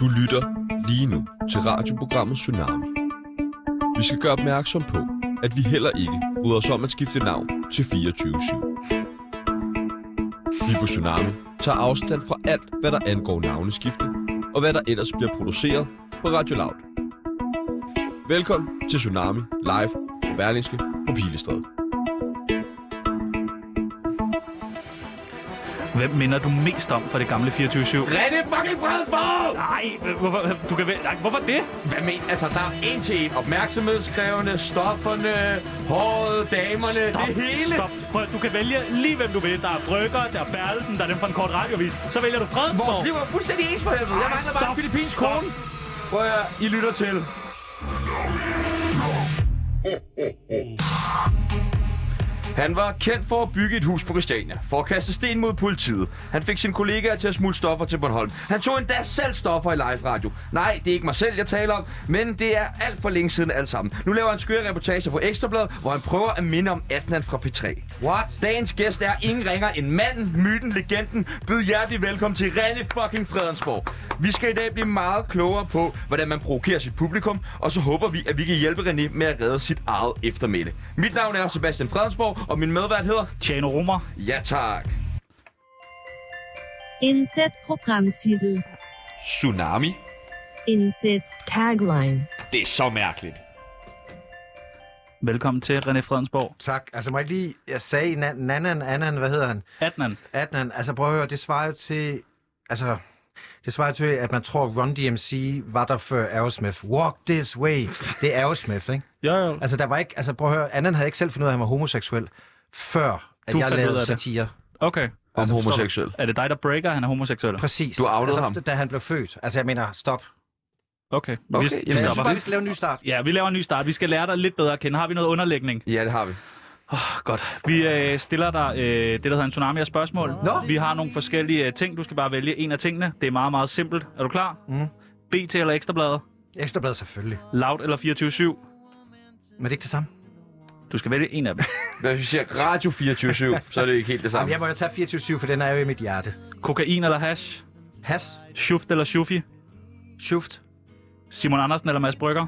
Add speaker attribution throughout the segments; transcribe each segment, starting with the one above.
Speaker 1: Du lytter lige nu til radioprogrammet Tsunami. Vi skal gøre opmærksom på, at vi heller ikke bryder os om at skifte navn til 24-7. Vi på Tsunami tager afstand fra alt, hvad der angår navneskifte, og hvad der ellers bliver produceret på Radio Loud. Velkommen til Tsunami Live på Berlingske på Pilestræde.
Speaker 2: Hvem minder du mest om fra det gamle 24-7?
Speaker 3: René fucking Fredsborg!
Speaker 2: Nej, øh, hvorfor, du kan vælge, nej, hvorfor det?
Speaker 3: Hvad mener Altså, der er en til en. Opmærksomhedskrævende, stofferne, håret, damerne, det hele.
Speaker 2: Stop. Prøv, du kan vælge lige, hvem du vil. Der er Brygger, der er Berlsen, der er dem fra en kort radiovis. Så vælger du
Speaker 3: Vores
Speaker 2: Fredsborg.
Speaker 3: liv er fuldstændig ens for helvede. Jeg
Speaker 2: Ej,
Speaker 3: mangler bare
Speaker 2: stop.
Speaker 3: en filippinsk
Speaker 2: Stop.
Speaker 3: kone. Prøv at høre, I lytter til. Han var kendt for at bygge et hus på Christiania, for at kaste sten mod politiet. Han fik sine kollegaer til at smule stoffer til Bornholm. Han tog endda selv stoffer i live radio. Nej, det er ikke mig selv, jeg taler om, men det er alt for længe siden alt sammen. Nu laver han skøre reportager for Ekstrabladet, hvor han prøver at minde om 18 fra P3. What? Dagens gæst er ingen ringer end manden, myten, legenden. Byd hjertelig velkommen til René fucking Fredensborg. Vi skal i dag blive meget klogere på, hvordan man provokerer sit publikum, og så håber vi, at vi kan hjælpe René med at redde sit eget eftermæle. Mit navn er Sebastian Fredensborg, og min medvært hedder
Speaker 2: Tjano Romer.
Speaker 3: Ja tak.
Speaker 4: Indsæt programtitel.
Speaker 1: Tsunami,
Speaker 4: Indsæt tagline.
Speaker 1: det er så mærkeligt.
Speaker 2: Velkommen til René Fredensborg.
Speaker 5: Tak. Altså må jeg ikke lige... Jeg sagde na- Nanan, Anan, hvad hedder han?
Speaker 2: Adnan.
Speaker 5: Adnan. Altså prøv at høre, det svarer jo til... Altså, det svarer jo til, at man tror, Run DMC var der før Aerosmith. Walk this way. Det er Aerosmith, ikke?
Speaker 2: Jo, jo.
Speaker 5: Altså, der var ikke... Altså, prøv at høre, Anan havde ikke selv fundet ud af, at han var homoseksuel, før at
Speaker 2: Du
Speaker 5: jeg
Speaker 2: fandt ud af
Speaker 5: lavede
Speaker 2: det.
Speaker 5: satire.
Speaker 2: Okay.
Speaker 3: Om homoseksuel.
Speaker 2: Er det dig, der breaker, han er homoseksuel?
Speaker 5: Præcis.
Speaker 3: Du outede
Speaker 5: altså,
Speaker 3: ham.
Speaker 5: Da han blev født. Altså, jeg mener, stop.
Speaker 2: Okay,
Speaker 3: Okay,
Speaker 2: vi,
Speaker 3: jamen,
Speaker 2: vi
Speaker 3: jeg
Speaker 5: Men jeg synes
Speaker 2: stopper.
Speaker 5: bare, vi skal lave en ny start.
Speaker 2: Ja, vi laver en ny start. Vi skal lære dig lidt bedre at kende. Har vi noget underlægning?
Speaker 3: Ja, det har vi.
Speaker 2: Godt. Vi øh, stiller dig øh, det, der hedder en tsunami af spørgsmål.
Speaker 5: Nå.
Speaker 2: Vi har nogle forskellige øh, ting. Du skal bare vælge en af tingene. Det er meget, meget simpelt. Er du klar?
Speaker 5: Mm.
Speaker 2: BT eller Ekstrabladet?
Speaker 5: Ekstrabladet selvfølgelig.
Speaker 2: Loud eller 24-7?
Speaker 5: Men det er ikke det samme.
Speaker 2: Du skal vælge en af dem.
Speaker 3: Hvis vi siger Radio 24 så er det ikke helt det
Speaker 5: Jamen,
Speaker 3: samme.
Speaker 5: jeg må jo tage 24-7, for den er jo i mit hjerte.
Speaker 2: Kokain eller hash?
Speaker 5: Has,
Speaker 2: Schuft eller Schufi?
Speaker 5: Schuft.
Speaker 2: Simon Andersen eller Mads Brygger?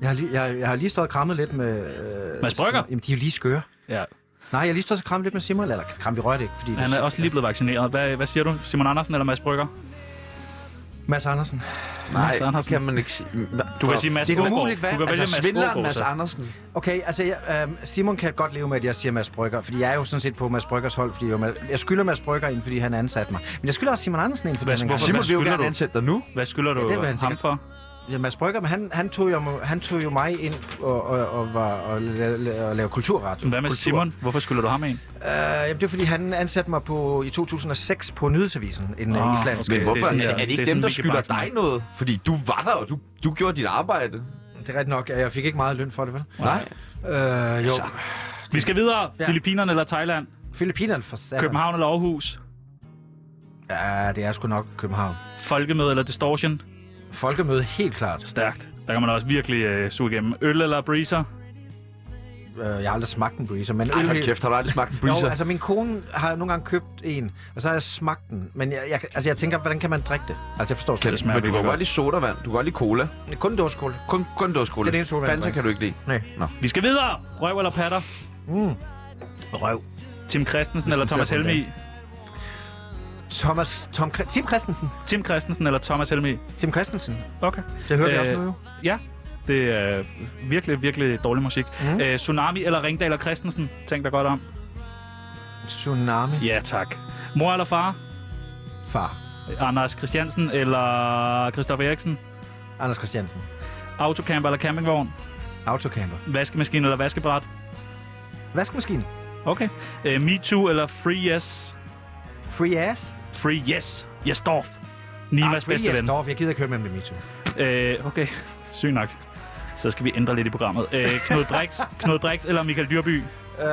Speaker 5: Jeg har, lige, jeg, jeg har lige stået og krammet lidt med... Øh,
Speaker 2: Mads Brygger?
Speaker 5: Jamen, de er jo lige skøre.
Speaker 2: Ja.
Speaker 5: Nej, jeg har lige stået og krammet lidt med Simon, eller kram, vi rørte ikke, fordi...
Speaker 2: Han er også lige blevet vaccineret. Hvad, hvad siger du? Simon Andersen eller Mads Brygger?
Speaker 5: Mads Andersen.
Speaker 3: Nej,
Speaker 2: Mads
Speaker 3: det
Speaker 2: Andersen.
Speaker 3: kan man ikke sige.
Speaker 2: Du kan sige Mads
Speaker 5: det er
Speaker 2: Brogaard.
Speaker 5: umuligt, hvad?
Speaker 2: Du kan vælge
Speaker 5: Altså,
Speaker 2: Mads
Speaker 3: Svindleren
Speaker 2: Brogaard.
Speaker 3: Mads
Speaker 2: så.
Speaker 3: Andersen.
Speaker 5: Okay, altså, jeg, øh, Simon kan godt leve med, at jeg siger Mads Brygger, fordi jeg er jo sådan set på Mads Bryggers hold, fordi jeg, er jo- jeg skylder Mads Brygger ind, fordi han ansatte mig. Men jeg skylder også Simon Andersen ind, fordi
Speaker 2: Mads
Speaker 5: han engang-
Speaker 2: Hvorfor-
Speaker 3: Simon
Speaker 2: hvad
Speaker 3: vil jo
Speaker 2: skylder
Speaker 3: gerne
Speaker 2: du?
Speaker 3: ansætte dig nu.
Speaker 2: Hvad skylder du
Speaker 5: det vil han
Speaker 2: ja, ham
Speaker 5: sikkert.
Speaker 2: for?
Speaker 5: Ja, Mads Brygger, men han, han, tog jo, han tog jo mig ind og, og, og, var, og, la, la, og lave kulturradio.
Speaker 2: Hvad med
Speaker 5: Kultur.
Speaker 2: Simon? Hvorfor skylder du ham en?
Speaker 5: Øh, jamen, det er fordi, han ansatte mig på, i 2006 på Nyhedsavisen, en
Speaker 2: Ah,
Speaker 5: oh, islandsk.
Speaker 2: okay. Det
Speaker 3: Men
Speaker 2: er
Speaker 3: hvorfor?
Speaker 2: sådan,
Speaker 3: altså,
Speaker 2: ja,
Speaker 3: er det
Speaker 2: det er
Speaker 3: ikke
Speaker 2: sådan,
Speaker 3: dem, der
Speaker 2: Mickey
Speaker 3: skylder
Speaker 2: Baxter.
Speaker 3: dig noget? Fordi du var der, og du, du gjorde dit arbejde.
Speaker 5: Det er rigtigt nok, at jeg fik ikke meget løn for det, vel?
Speaker 3: Nej.
Speaker 5: Øh, jo. Altså.
Speaker 2: Vi skal videre.
Speaker 5: Ja.
Speaker 2: Filippinerne eller Thailand?
Speaker 5: Filippinerne for satan.
Speaker 2: København eller Aarhus?
Speaker 5: Ja, det er sgu nok København.
Speaker 2: Folkemøde eller Distortion?
Speaker 5: Folkemøde helt klart.
Speaker 2: Stærkt. Der kan man også virkelig øh, suge igennem. Øl eller breezer?
Speaker 5: Øh, Jeg har aldrig smagt en breezer, men...
Speaker 3: Ej, hold kæft, har du aldrig smagt en
Speaker 5: Jo,
Speaker 3: breezer?
Speaker 5: altså min kone har nogle gange købt en, og så har jeg smagt den. Men jeg, jeg, altså, jeg tænker, hvordan kan man drikke det? Altså, jeg forstår slet
Speaker 3: Kan det
Speaker 5: ikke.
Speaker 2: smager
Speaker 3: Men du kan
Speaker 2: virkelig
Speaker 3: godt lide sodavand, du kan godt lide cola.
Speaker 5: Det... Kun en dåskål.
Speaker 3: Kun, kun dåskola.
Speaker 5: Det er det eneste sodavand,
Speaker 3: Fanta
Speaker 5: jeg
Speaker 3: kan du ikke lide.
Speaker 5: Nej.
Speaker 2: Vi skal videre! Røv eller patter?
Speaker 5: Mm.
Speaker 2: Røv. Tim Christensen
Speaker 5: Hvis
Speaker 2: eller
Speaker 5: man ser
Speaker 2: Thomas
Speaker 5: på en
Speaker 2: Helmi?
Speaker 5: Thomas, Tom, Kri- Tim Christensen.
Speaker 2: Tim Christensen eller Thomas Helmi?
Speaker 5: Tim Christensen.
Speaker 2: Okay.
Speaker 5: Det hører øh... vi
Speaker 2: Øh,
Speaker 5: også nu, jo.
Speaker 2: Ja, det er virkelig, virkelig dårlig musik. Mm.
Speaker 5: Mm.
Speaker 2: Øh, Tsunami eller Ringdal og Christensen? Tænk dig godt om.
Speaker 5: Tsunami.
Speaker 2: Ja, tak. Mor eller far?
Speaker 5: Far.
Speaker 2: Anders Christiansen eller Christoffer Eriksen?
Speaker 5: Anders Christiansen.
Speaker 2: Autocamper eller campingvogn?
Speaker 5: Autocamper.
Speaker 2: Vaskemaskine eller vaskebræt?
Speaker 5: Vaskemaskine.
Speaker 2: Okay. Øh, Me Too eller Free Yes?
Speaker 5: Free ass. Ah,
Speaker 2: Free Yes. Yes, Dorf. Nimas
Speaker 5: free
Speaker 2: bedste
Speaker 5: ass.
Speaker 2: ven.
Speaker 5: Dorf. Jeg gider ikke høre med dem i MeToo.
Speaker 2: Øh, okay, syg nok. Så skal vi ændre lidt i programmet. Øh, Knud, Brix, Knud Brix eller Michael Dyrby?
Speaker 5: Øh,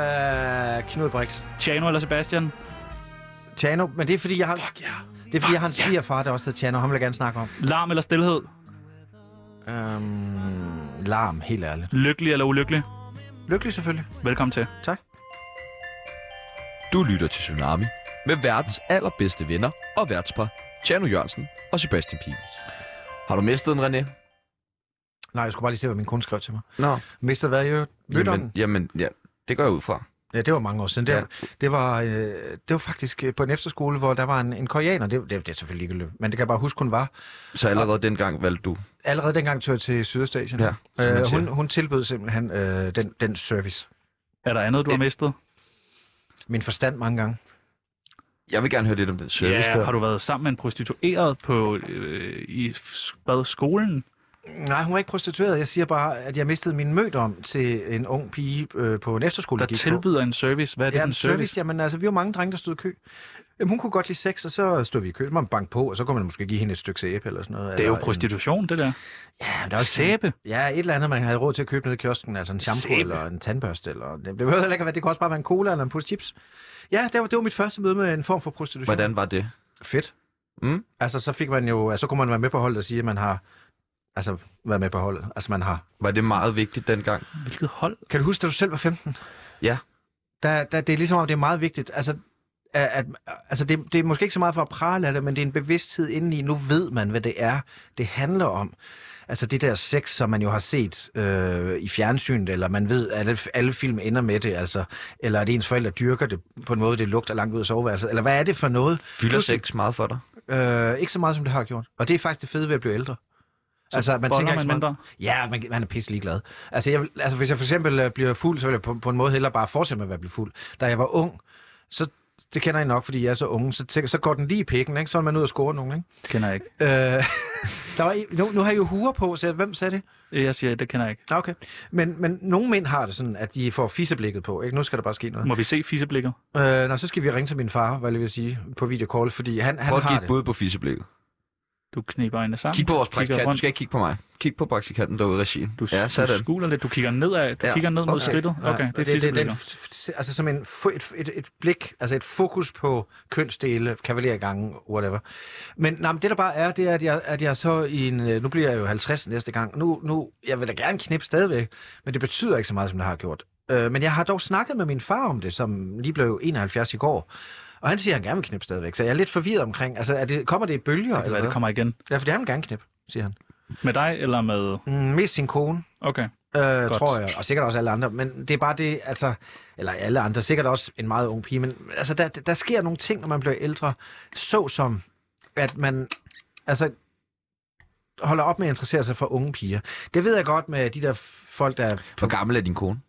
Speaker 5: Knud Brix.
Speaker 2: Tjano eller Sebastian?
Speaker 5: Tjano. Men det er fordi, jeg har...
Speaker 2: Fuck ja.
Speaker 5: Det er fordi, jeg har en svigerfar, der også hedder Tjano. Ham vil jeg gerne snakke om.
Speaker 2: Larm eller stillhed?
Speaker 5: Øhm, larm, helt ærligt.
Speaker 2: Lykkelig eller ulykkelig?
Speaker 5: Lykkelig selvfølgelig.
Speaker 2: Velkommen til.
Speaker 5: Tak.
Speaker 1: Du lytter til Tsunami med verdens allerbedste venner og værtspar, Tjerno Jørgensen og Sebastian Pibels.
Speaker 3: Har du mistet den, René?
Speaker 5: Nej, jeg skulle bare lige se, hvad min kunde skrev til mig.
Speaker 3: Nå.
Speaker 5: Mister hvad, jo?
Speaker 3: Jamen,
Speaker 5: Lytteren?
Speaker 3: jamen, ja, det går jeg ud fra.
Speaker 5: Ja, det var mange år siden. Det,
Speaker 3: Ja.
Speaker 5: ja. det, var, øh, det var faktisk øh, på en efterskole, hvor der var en, en koreaner. Det, det, det er selvfølgelig ikke løb, men det kan jeg bare huske, hun var.
Speaker 3: Så allerede dengang valgte du.
Speaker 5: Allerede dengang tog jeg til Sydøstasien.
Speaker 3: Ja, som man
Speaker 5: øh,
Speaker 3: siger.
Speaker 5: hun, hun tilbød simpelthen øh, den, den service.
Speaker 2: Er der andet, du har mistet?
Speaker 5: Min forstand mange gange.
Speaker 3: Jeg vil gerne høre lidt om den service
Speaker 2: Ja,
Speaker 3: der.
Speaker 2: har du været sammen med en prostitueret på øh, i f- hvad, skolen?
Speaker 5: Nej, hun var ikke prostitueret. Jeg siger bare, at jeg mistede min mødom til en ung pige øh, på en efterskole.
Speaker 2: Der
Speaker 5: jeg gik på.
Speaker 2: tilbyder en service. Hvad er det
Speaker 5: Ja,
Speaker 2: for
Speaker 5: en
Speaker 2: en
Speaker 5: service.
Speaker 2: service?
Speaker 5: Jamen, altså, vi var mange drenge, der stod i kø. Jamen, hun kunne godt lide sex, og så stod vi i kø. Så man bank på, og så kunne man måske give hende et stykke sæbe eller sådan noget.
Speaker 2: Det er jo
Speaker 5: eller en-
Speaker 2: prostitution, det der.
Speaker 5: Ja, men der
Speaker 2: Der
Speaker 5: er
Speaker 2: er
Speaker 5: også sæbe.
Speaker 2: sæbe.
Speaker 5: Ja, et eller andet, man havde råd til at købe nede i kiosken. Altså en shampoo
Speaker 2: Sæbe.
Speaker 5: sæbe. eller en tandbørste. Eller... Det behøver heller ikke at være. Det kunne også bare være en cola eller en pose chips. Ja, det var, det var mit første møde med en form for prostitution.
Speaker 3: Hvordan var det?
Speaker 5: Fedt.
Speaker 3: Mm.
Speaker 5: Altså, så fik man jo... Altså, så kunne man være med på holdet og sige, at man har... Altså, været med på holdet. Altså, man har...
Speaker 3: Var det meget vigtigt dengang?
Speaker 2: Hvilket hold?
Speaker 5: Kan du huske, da du selv var 15?
Speaker 3: Ja.
Speaker 5: Der, der, det er ligesom om, det er meget vigtigt. Altså, at, at, altså det, det er måske ikke så meget for at prale af det, men det er en bevidsthed indeni. Nu ved man, hvad det er, det handler om. Altså det der sex, som man jo har set øh, i fjernsynet, eller man ved, at alle, alle film ender med det, altså, eller at ens forældre dyrker det på en måde, det lugter langt ud af soveværelset, eller hvad er det for noget?
Speaker 3: Fylder sex meget for dig?
Speaker 5: Øh, ikke så meget, som det har gjort. Og det er faktisk det fede ved at blive ældre. Altså,
Speaker 2: Så boller
Speaker 5: ikke
Speaker 2: man
Speaker 5: så meget-
Speaker 2: mindre.
Speaker 5: Ja, man, man er pisselig glad. Altså, jeg, vil- altså, hvis jeg for eksempel øh, bliver fuld, så vil jeg på, på en måde hellere bare fortsætte med at være blevet fuld. Da jeg var ung, så det kender I nok, fordi jeg er så unge, så, tænker, så går den lige i pikken, ikke? så er man ud og score nogen. Ikke?
Speaker 2: Kender jeg ikke.
Speaker 5: Øh, der var, en- nu, nu har jeg jo huer på, så jeg- hvem sagde det?
Speaker 2: Jeg siger, det kender jeg ikke.
Speaker 5: Ah, Okay. Men, men nogle mænd har det sådan, at de får fisseblikket på. Ikke? Nu skal der bare ske noget.
Speaker 2: Må vi se fiseblikket?
Speaker 5: Øh, nå, så skal vi ringe til min far, hvad jeg vil sige, på videocall, fordi han, han
Speaker 3: Prøv at
Speaker 5: har
Speaker 3: give et
Speaker 5: det.
Speaker 3: bud på fisseblikket.
Speaker 2: Du kniber øjnene sammen.
Speaker 3: Kig på vores
Speaker 2: kigger
Speaker 3: praktikant. Du
Speaker 2: rundt.
Speaker 3: skal ikke kigge på mig. Kig på praktikanten derude i regien.
Speaker 2: Du,
Speaker 3: ja,
Speaker 2: du
Speaker 3: sådan.
Speaker 2: skuler lidt. Du kigger nedad. Du
Speaker 3: Ja,
Speaker 2: kigger ned mod
Speaker 3: okay.
Speaker 2: skridtet.
Speaker 5: Nej,
Speaker 2: Okay,
Speaker 5: og
Speaker 2: det er
Speaker 5: det, det,
Speaker 2: fiseblikket.
Speaker 5: det, Altså som en, fu- et, et, et blik, altså et fokus på kønsdele, kavalergange, whatever. Men nej, men det der bare er, det er, at jeg, at jeg så i en... øh, Nu bliver jeg jo 50 næste gang. Nu, nu, jeg vil da gerne knippe stadigvæk, men det betyder ikke så meget, som det har gjort. Øh, men jeg har dog snakket med min far om det, som lige blev 71 i går. Og han siger, at han gerne vil knippe stadigvæk. Så jeg er lidt forvirret omkring, altså er det, kommer det i bølger?
Speaker 2: Eller
Speaker 5: eller
Speaker 2: det
Speaker 5: hvad?
Speaker 2: kommer igen.
Speaker 5: Ja, for det han vil gerne knippe, siger han.
Speaker 2: Med dig eller med...
Speaker 5: Mm, mest sin kone.
Speaker 2: Okay.
Speaker 5: Øh, tror jeg, og sikkert også alle andre, men det er bare det, altså, eller alle andre, sikkert også en meget ung pige, men altså, der, der sker nogle ting, når man bliver ældre, såsom, at man, altså, holder op med at interessere sig for unge piger. Det ved jeg godt med de der folk, der,
Speaker 3: Hvor gammel er din kone?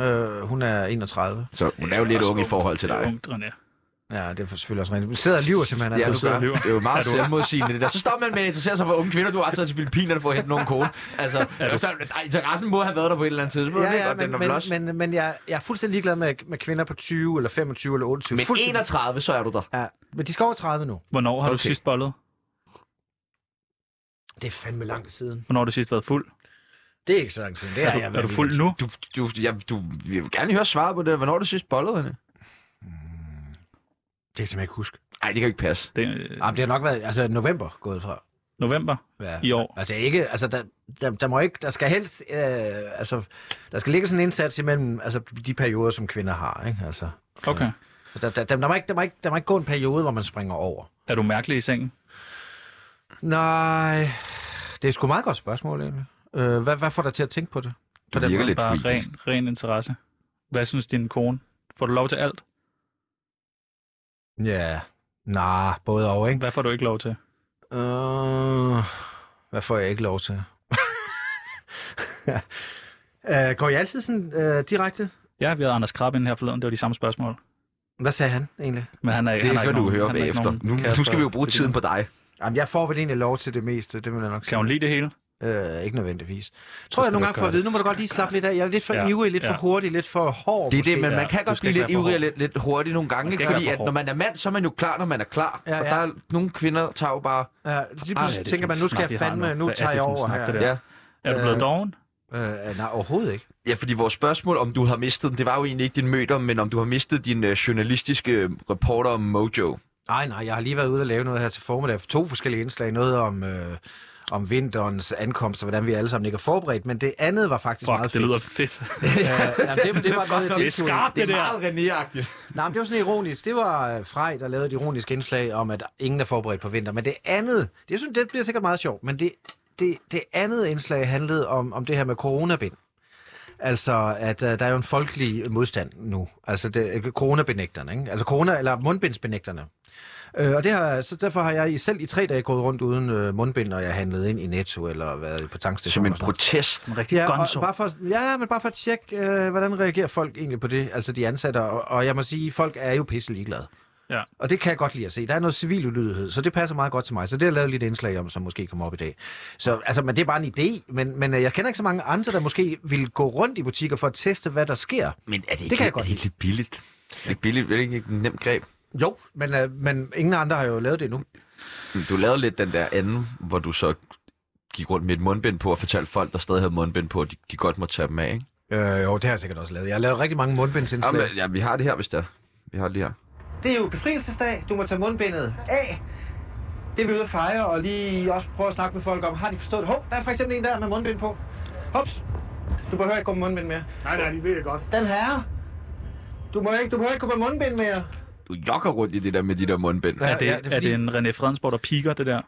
Speaker 5: øh, hun er 31,
Speaker 3: Så hun er jo lidt
Speaker 2: Også
Speaker 3: ung i forhold til
Speaker 2: Det er
Speaker 3: dig.
Speaker 2: ungt, René.
Speaker 5: ja, det er selvfølgelig også rigtigt, men sidder og lyver simpelthen.
Speaker 3: Ja,
Speaker 5: altså.
Speaker 3: du
Speaker 2: sidder
Speaker 3: gør.
Speaker 2: og lyver.
Speaker 3: Det er jo
Speaker 2: Er
Speaker 3: meget
Speaker 2: du-
Speaker 3: selvmodsigende det der. Så stopper man med at interessere sig for unge kvinder. Du har taget til Filippinerne for at hente nogen kone. Altså, så, nej, interessen må have været der på et eller andet tidspunkt.
Speaker 5: Ja,
Speaker 3: ikke?
Speaker 5: ja,
Speaker 3: Og
Speaker 5: men,
Speaker 3: den er
Speaker 5: men,
Speaker 3: blåst.
Speaker 5: men, men, jeg, jeg er fuldstændig ligeglad med, med kvinder på 20, eller 25, eller 28.
Speaker 3: men
Speaker 5: Fuldstændig-
Speaker 3: 31, så er du der.
Speaker 5: Ja, men de skal over 30 nu.
Speaker 2: Hvornår har du
Speaker 3: Okay.
Speaker 2: sidst bollet?
Speaker 5: Det er fandme langt siden.
Speaker 2: Hvornår har du sidst været fuld?
Speaker 5: Det er ikke så langt siden. Det
Speaker 2: Er
Speaker 5: har
Speaker 2: du,
Speaker 5: jeg
Speaker 2: er
Speaker 5: været
Speaker 2: du
Speaker 5: i
Speaker 2: fuld nu?
Speaker 3: Du, du, jeg, du, jeg vil gerne høre svar på det. Hvornår er du sidst bollede hende?
Speaker 5: Det kan jeg simpelthen ikke huske.
Speaker 3: Nej, det kan jo ikke passe.
Speaker 2: Det, er, øh,
Speaker 5: Jamen, det har nok været altså, november gået fra.
Speaker 2: november
Speaker 5: Ja.
Speaker 2: i år.
Speaker 5: Altså ikke, altså der, der, der må ikke, der skal helst, øh, altså, der skal ligge sådan en indsats imellem altså, de perioder, som kvinder har, ikke? Altså,
Speaker 2: Okay.
Speaker 5: der, der, der, der, må ikke, der, må ikke, der må ikke gå en periode, hvor man springer over.
Speaker 2: Er du mærkelig i sengen?
Speaker 5: Nej, det er sgu meget godt spørgsmål, egentlig. Øh, hvad, hvad får dig til at tænke på det?
Speaker 3: Du
Speaker 5: den
Speaker 3: virker
Speaker 5: måde
Speaker 3: lidt
Speaker 2: Bare
Speaker 3: freaky.
Speaker 2: ren, ren interesse. Hvad synes din kone? Får du lov til alt?
Speaker 5: Ja, nej, både og, ikke?
Speaker 2: Hvad får du ikke lov til?
Speaker 5: Øh, hvad får jeg ikke lov til? øh, går I altid sådan øh, direkte?
Speaker 2: Ja, vi havde Anders Krabbe inde her forleden. Det var de samme spørgsmål.
Speaker 5: Hvad sagde han egentlig?
Speaker 2: Men han er,
Speaker 3: Det
Speaker 2: han er
Speaker 3: kan
Speaker 2: ikke
Speaker 3: du
Speaker 2: nogen,
Speaker 3: høre
Speaker 2: han er ikke
Speaker 3: bagefter.
Speaker 2: nogen
Speaker 3: Nu, nu
Speaker 2: kæreste-
Speaker 3: skal vi jo bruge tiden på dig.
Speaker 5: Jamen, jeg får vel egentlig lov til det meste, det vil jeg nok
Speaker 2: Kan hun lide det hele?
Speaker 5: Øh, ikke nødvendigvis. Tror
Speaker 2: skal du
Speaker 5: jeg nogle gange
Speaker 2: gøre
Speaker 5: får at
Speaker 2: det.
Speaker 5: vide, nu må
Speaker 2: Så
Speaker 5: du godt lige slappe lidt af. Jeg er lidt for
Speaker 2: Ja.
Speaker 5: ja. ivrig, lidt
Speaker 2: Ja.
Speaker 5: for hurtig, lidt for hård.
Speaker 3: Det er det, men
Speaker 2: Ja,
Speaker 3: man kan
Speaker 2: du
Speaker 3: godt
Speaker 2: skal
Speaker 3: blive
Speaker 2: ikke
Speaker 3: lidt
Speaker 2: være for
Speaker 3: ivrig
Speaker 2: hård.
Speaker 3: og lidt, lidt hurtig nogle gange,
Speaker 2: Man skal
Speaker 3: ikke?
Speaker 2: ikke
Speaker 3: fordi
Speaker 2: være
Speaker 3: at
Speaker 2: for
Speaker 3: når man er mand, så er man jo klar, når man er klar.
Speaker 5: Ja,
Speaker 3: Og
Speaker 5: ja.
Speaker 3: der er nogle kvinder, tager jo bare...
Speaker 5: Ja, Øh, lige
Speaker 3: Ej,
Speaker 5: pludselig
Speaker 2: det er
Speaker 5: tænker
Speaker 2: for
Speaker 5: man,
Speaker 2: en
Speaker 5: nu
Speaker 2: snak,
Speaker 5: skal
Speaker 2: vi
Speaker 5: jeg
Speaker 2: har nu.
Speaker 5: fandme, nu
Speaker 2: Hvad er
Speaker 5: tager
Speaker 2: det
Speaker 5: jeg
Speaker 2: for en
Speaker 5: over
Speaker 2: snak,
Speaker 5: her.
Speaker 2: det der?
Speaker 5: ja.
Speaker 3: Ja,
Speaker 2: Er du blevet
Speaker 5: Øh,
Speaker 2: doven?
Speaker 5: Øh, nej, overhovedet ikke.
Speaker 3: ja fordi vores spørgsmål, om du har mistet den, det var jo egentlig ikke din mødom, men om du har mistet din øh, journalistiske øh, reporter mojo.
Speaker 5: Nej, nej, jeg har lige været ude og lave noget her til formiddag. To forskellige indslag. Noget om, øh, om vinterens ankomst, og hvordan vi alle sammen ikke er forberedt, men det andet var faktisk
Speaker 2: Fuck, det
Speaker 5: meget fedt.
Speaker 2: lyder fedt.
Speaker 5: Øh, jamen, det, det var noget,
Speaker 2: Det er skarpt, det,
Speaker 3: Det er
Speaker 2: der.
Speaker 3: meget René-agtigt.
Speaker 5: Nej, men det var sådan ironisk. Det var øh, Frej, der lavede et ironisk indslag om, at ingen er forberedt på vinter. Men det andet, det synes det bliver sikkert meget sjovt, men det, det, det andet indslag handlede om, om det her med coronabind. Altså, at øh, der er jo en folkelig modstand nu. Altså, det, coronabinægterne, ikke? Altså, corona- eller mundbindsbenægterne. Øh, og det har, så derfor har jeg i- selv i tre dage gået rundt uden øh, mundbind, når jeg handlede ind i Netto eller været på
Speaker 3: Som
Speaker 5: tankstationer.
Speaker 3: en
Speaker 5: og sådan noget.
Speaker 3: protest.
Speaker 2: En rigtig
Speaker 5: Ja, og
Speaker 2: gonzo.
Speaker 5: bare for, ja, men bare for at tjekke, øh, hvordan reagerer folk egentlig på det, altså de ansatte, og, og jeg må sige, folk er jo pisse ligeglade.
Speaker 2: Ja.
Speaker 5: Og det kan jeg godt lide at se. Der er noget civil ulydighed, så det passer meget godt til mig. Så det har jeg lavet lidt indslag om, som måske kommer op i dag. Så altså, men det er bare en idé, men, men øh, jeg kender ikke så mange andre, der måske vil gå rundt i butikker for at teste, hvad der sker.
Speaker 3: Men er det
Speaker 5: kan jeg godt
Speaker 3: er det ikke lidt billigt? Er det ikke billigt? Er det ikke et nemt greb?
Speaker 5: Jo, men, øh, men ingen andre har jo lavet det endnu.
Speaker 3: Du lavede lidt den der anden, hvor du så gik rundt med et mundbind på og fortalte folk, der stadig havde mundbind på, at de, de godt må tage dem af, ikke?
Speaker 5: Øh, jo, det har jeg sikkert også lavet. Jeg har lavet rigtig mange mundbindsindslag.
Speaker 3: Jamen, ja, vi har det her, hvis der. Vi har det lige her.
Speaker 5: Det er jo befrielsesdag. Du må tage mundbindet af. Det er vi ude at fejre, og lige også prøve at snakke med folk om, har de forstået det? Hov, der er for eksempel en der med mundbind på. Hops, du behøver ikke gå med mundbind mere.
Speaker 6: Nej, nej, de ved det godt.
Speaker 5: Den her, du må ikke, du behøver ikke gå med mundbind mere.
Speaker 3: Du jokker rundt i det der med de der mundbind.
Speaker 5: Ja,
Speaker 2: Er det,
Speaker 5: ja, det er
Speaker 2: er
Speaker 5: fordi-
Speaker 2: det en René Fredensborg, der piker det der?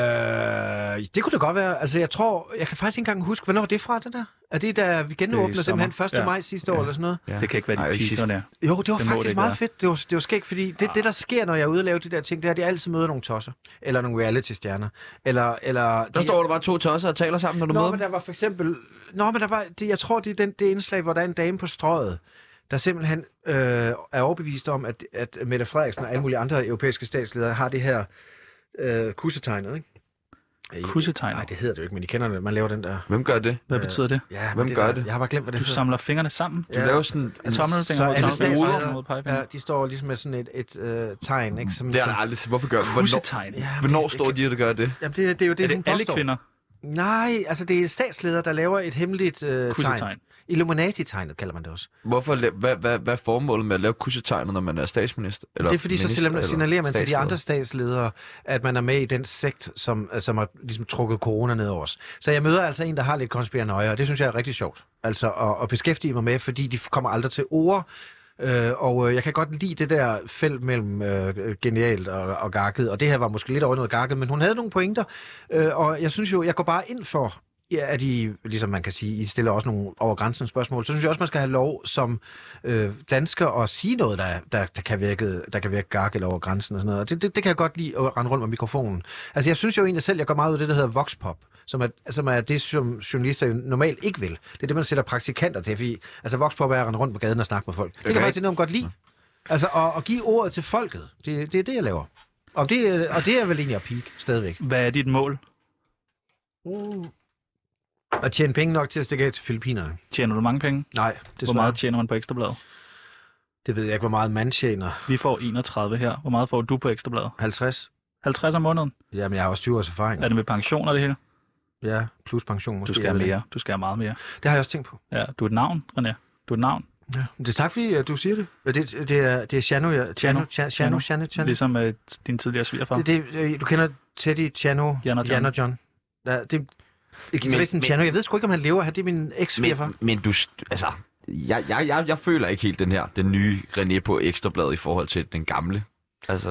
Speaker 5: Øh, det kunne det godt være. Altså, jeg tror, jeg kan faktisk ikke engang huske, hvornår er det fra, det der? Er det, da vi
Speaker 2: Det
Speaker 5: genåbner
Speaker 2: er
Speaker 5: simpelthen
Speaker 2: sommer.
Speaker 5: 1.
Speaker 2: Ja.
Speaker 5: maj sidste år
Speaker 2: Ja.
Speaker 5: eller sådan noget?
Speaker 3: Ja.
Speaker 2: Det kan ikke være, de
Speaker 3: Ej,
Speaker 2: Ej,
Speaker 3: ikke
Speaker 2: piker
Speaker 3: sidst.
Speaker 2: der.
Speaker 5: Jo, det var
Speaker 2: Det må
Speaker 5: faktisk
Speaker 2: det ikke
Speaker 5: meget
Speaker 2: være.
Speaker 5: fedt. Det var, det var skægt, fordi det, det, der sker, når jeg er ude og lave de der ting, det er, at jeg altid møder nogle tosser. Eller nogle reality-stjerner. Eller, eller
Speaker 3: Der står der bare to tosser og taler sammen, når du
Speaker 5: Nå,
Speaker 3: møder
Speaker 5: men
Speaker 3: dem.
Speaker 5: der var for eksempel... Nå, men der var... Det, jeg tror, det er den, det indslag, hvor der er en dame på strøget, der simpelthen øh, er overbevist om, at, at Mette Frederiksen og alle mulige andre europæiske statsledere har det her øh, kussetegnet, ikke? Øh,
Speaker 2: Kussetegnet?
Speaker 5: Nej, det hedder det jo ikke, men I kender det. Man laver den der...
Speaker 3: Hvem gør det?
Speaker 2: Hvad
Speaker 5: Øh,
Speaker 2: betyder det?
Speaker 5: Ja, men
Speaker 3: Hvem
Speaker 5: det
Speaker 3: gør
Speaker 5: der,
Speaker 3: det?
Speaker 5: Jeg har bare glemt, hvad det
Speaker 2: Du samler fingerne sammen?
Speaker 3: Du laver sådan en...
Speaker 2: Tommelfinger
Speaker 5: så
Speaker 2: mod
Speaker 5: alle
Speaker 2: tommelfinger?
Speaker 5: statsledere-
Speaker 2: mod pegefinger?
Speaker 5: Ja, de står ligesom med sådan et, et øh, tegn, ikke? Som,
Speaker 3: Det har
Speaker 5: som,
Speaker 3: jeg aldrig set. Hvorfor gør Hvornår,
Speaker 2: Kussetegn?
Speaker 5: Ja, men
Speaker 3: hvornår
Speaker 5: det-
Speaker 3: står de og gør det?
Speaker 5: Jamen, det, det er jo det,
Speaker 2: Er det
Speaker 5: hun
Speaker 2: alle
Speaker 5: påstår.
Speaker 2: kvinder?
Speaker 5: Nej, altså det er statsledere, der laver et hemmeligt øh, tegn.
Speaker 2: Kussetegn?
Speaker 5: Illuminati-tegnet kalder man det også.
Speaker 3: Hvorfor, la- hvad, hvad, hvad er formålet med at lave kussetegnet, når man er statsminister? Eller
Speaker 5: det er fordi, så
Speaker 3: minister,
Speaker 5: signalerer-
Speaker 3: eller
Speaker 5: signalerer man til de
Speaker 3: statsleder?
Speaker 5: andre statsledere, at man er med i den sekt, som, som har ligesom trukket corona ned over os. Så jeg møder altså en, der har lidt konspiranøje, og det synes jeg er rigtig sjovt altså at, at beskæftige mig med, fordi de kommer aldrig til ord. Øh, og øh, jeg kan godt lide det der felt mellem øh, genialt og, og gakket, og det her var måske lidt over i noget gakket, men hun havde nogle pointer, øh, og jeg synes jo, jeg går bare ind for, ja, at I, ligesom man kan sige, I stiller også nogle over grænsen spørgsmål, så synes jeg også, man skal have lov som øh, dansker at sige noget, der, der, der, kan virke, der kan virke gak eller over grænsen og sådan noget. Og det, det, det kan jeg godt lide at rende rundt med mikrofonen. Altså jeg synes jo egentlig selv, jeg går meget ud af det, der hedder voxpop, som er, som er det, som journalister jo normalt ikke vil. Det er det, man sætter praktikanter til, fordi altså, voxpop er at rende rundt på gaden og snakke med folk. Det kan
Speaker 3: Okay.
Speaker 5: jeg faktisk enormt godt lide. Altså at, at give ordet til folket, det, det er det, jeg laver. Og det, er- og det er vel egentlig at peak stadigvæk.
Speaker 2: Hvad er dit mål?
Speaker 5: At tjene penge nok til at stikke af til Filippinerne.
Speaker 2: Tjener du mange penge?
Speaker 5: Nej,
Speaker 2: Hvor meget tjener man på Ekstrabladet?
Speaker 5: Det ved jeg ikke, hvor meget man tjener.
Speaker 2: Vi får 31 her. Hvor meget får du på Ekstrabladet?
Speaker 5: 50?
Speaker 2: 50 om måneden?
Speaker 5: Jamen, jeg har også 20 års erfaring.
Speaker 2: Er det med pension og det hele?
Speaker 5: Ja, plus pension måske.
Speaker 2: Du skal have
Speaker 5: jeg ved det
Speaker 2: mere. Du skal have meget mere.
Speaker 5: ikke. Det har jeg også tænkt på.
Speaker 2: Ja, du er et navn, René. Du er et navn.
Speaker 5: Ja. Det er tak, fordi øh, du siger det. Ja, Det, det er, det er Chano, ja. Chano, Chano, Chano, Chano, Chano.
Speaker 2: Ligesom øh, din tidligere svigerfar.
Speaker 5: Det, det, øh, du kender Teddy, Chano,
Speaker 2: Jan og John.
Speaker 5: Jan og John. Ja, det er guitaristen
Speaker 3: men-
Speaker 5: Chano. Jeg ved sgu ikke, om han lever. Han- Det er min eks
Speaker 3: Men, men du, st- altså, jeg, jeg, jeg, jeg føler ikke helt den her, den nye René på Ekstrabladet i forhold til den gamle. Altså,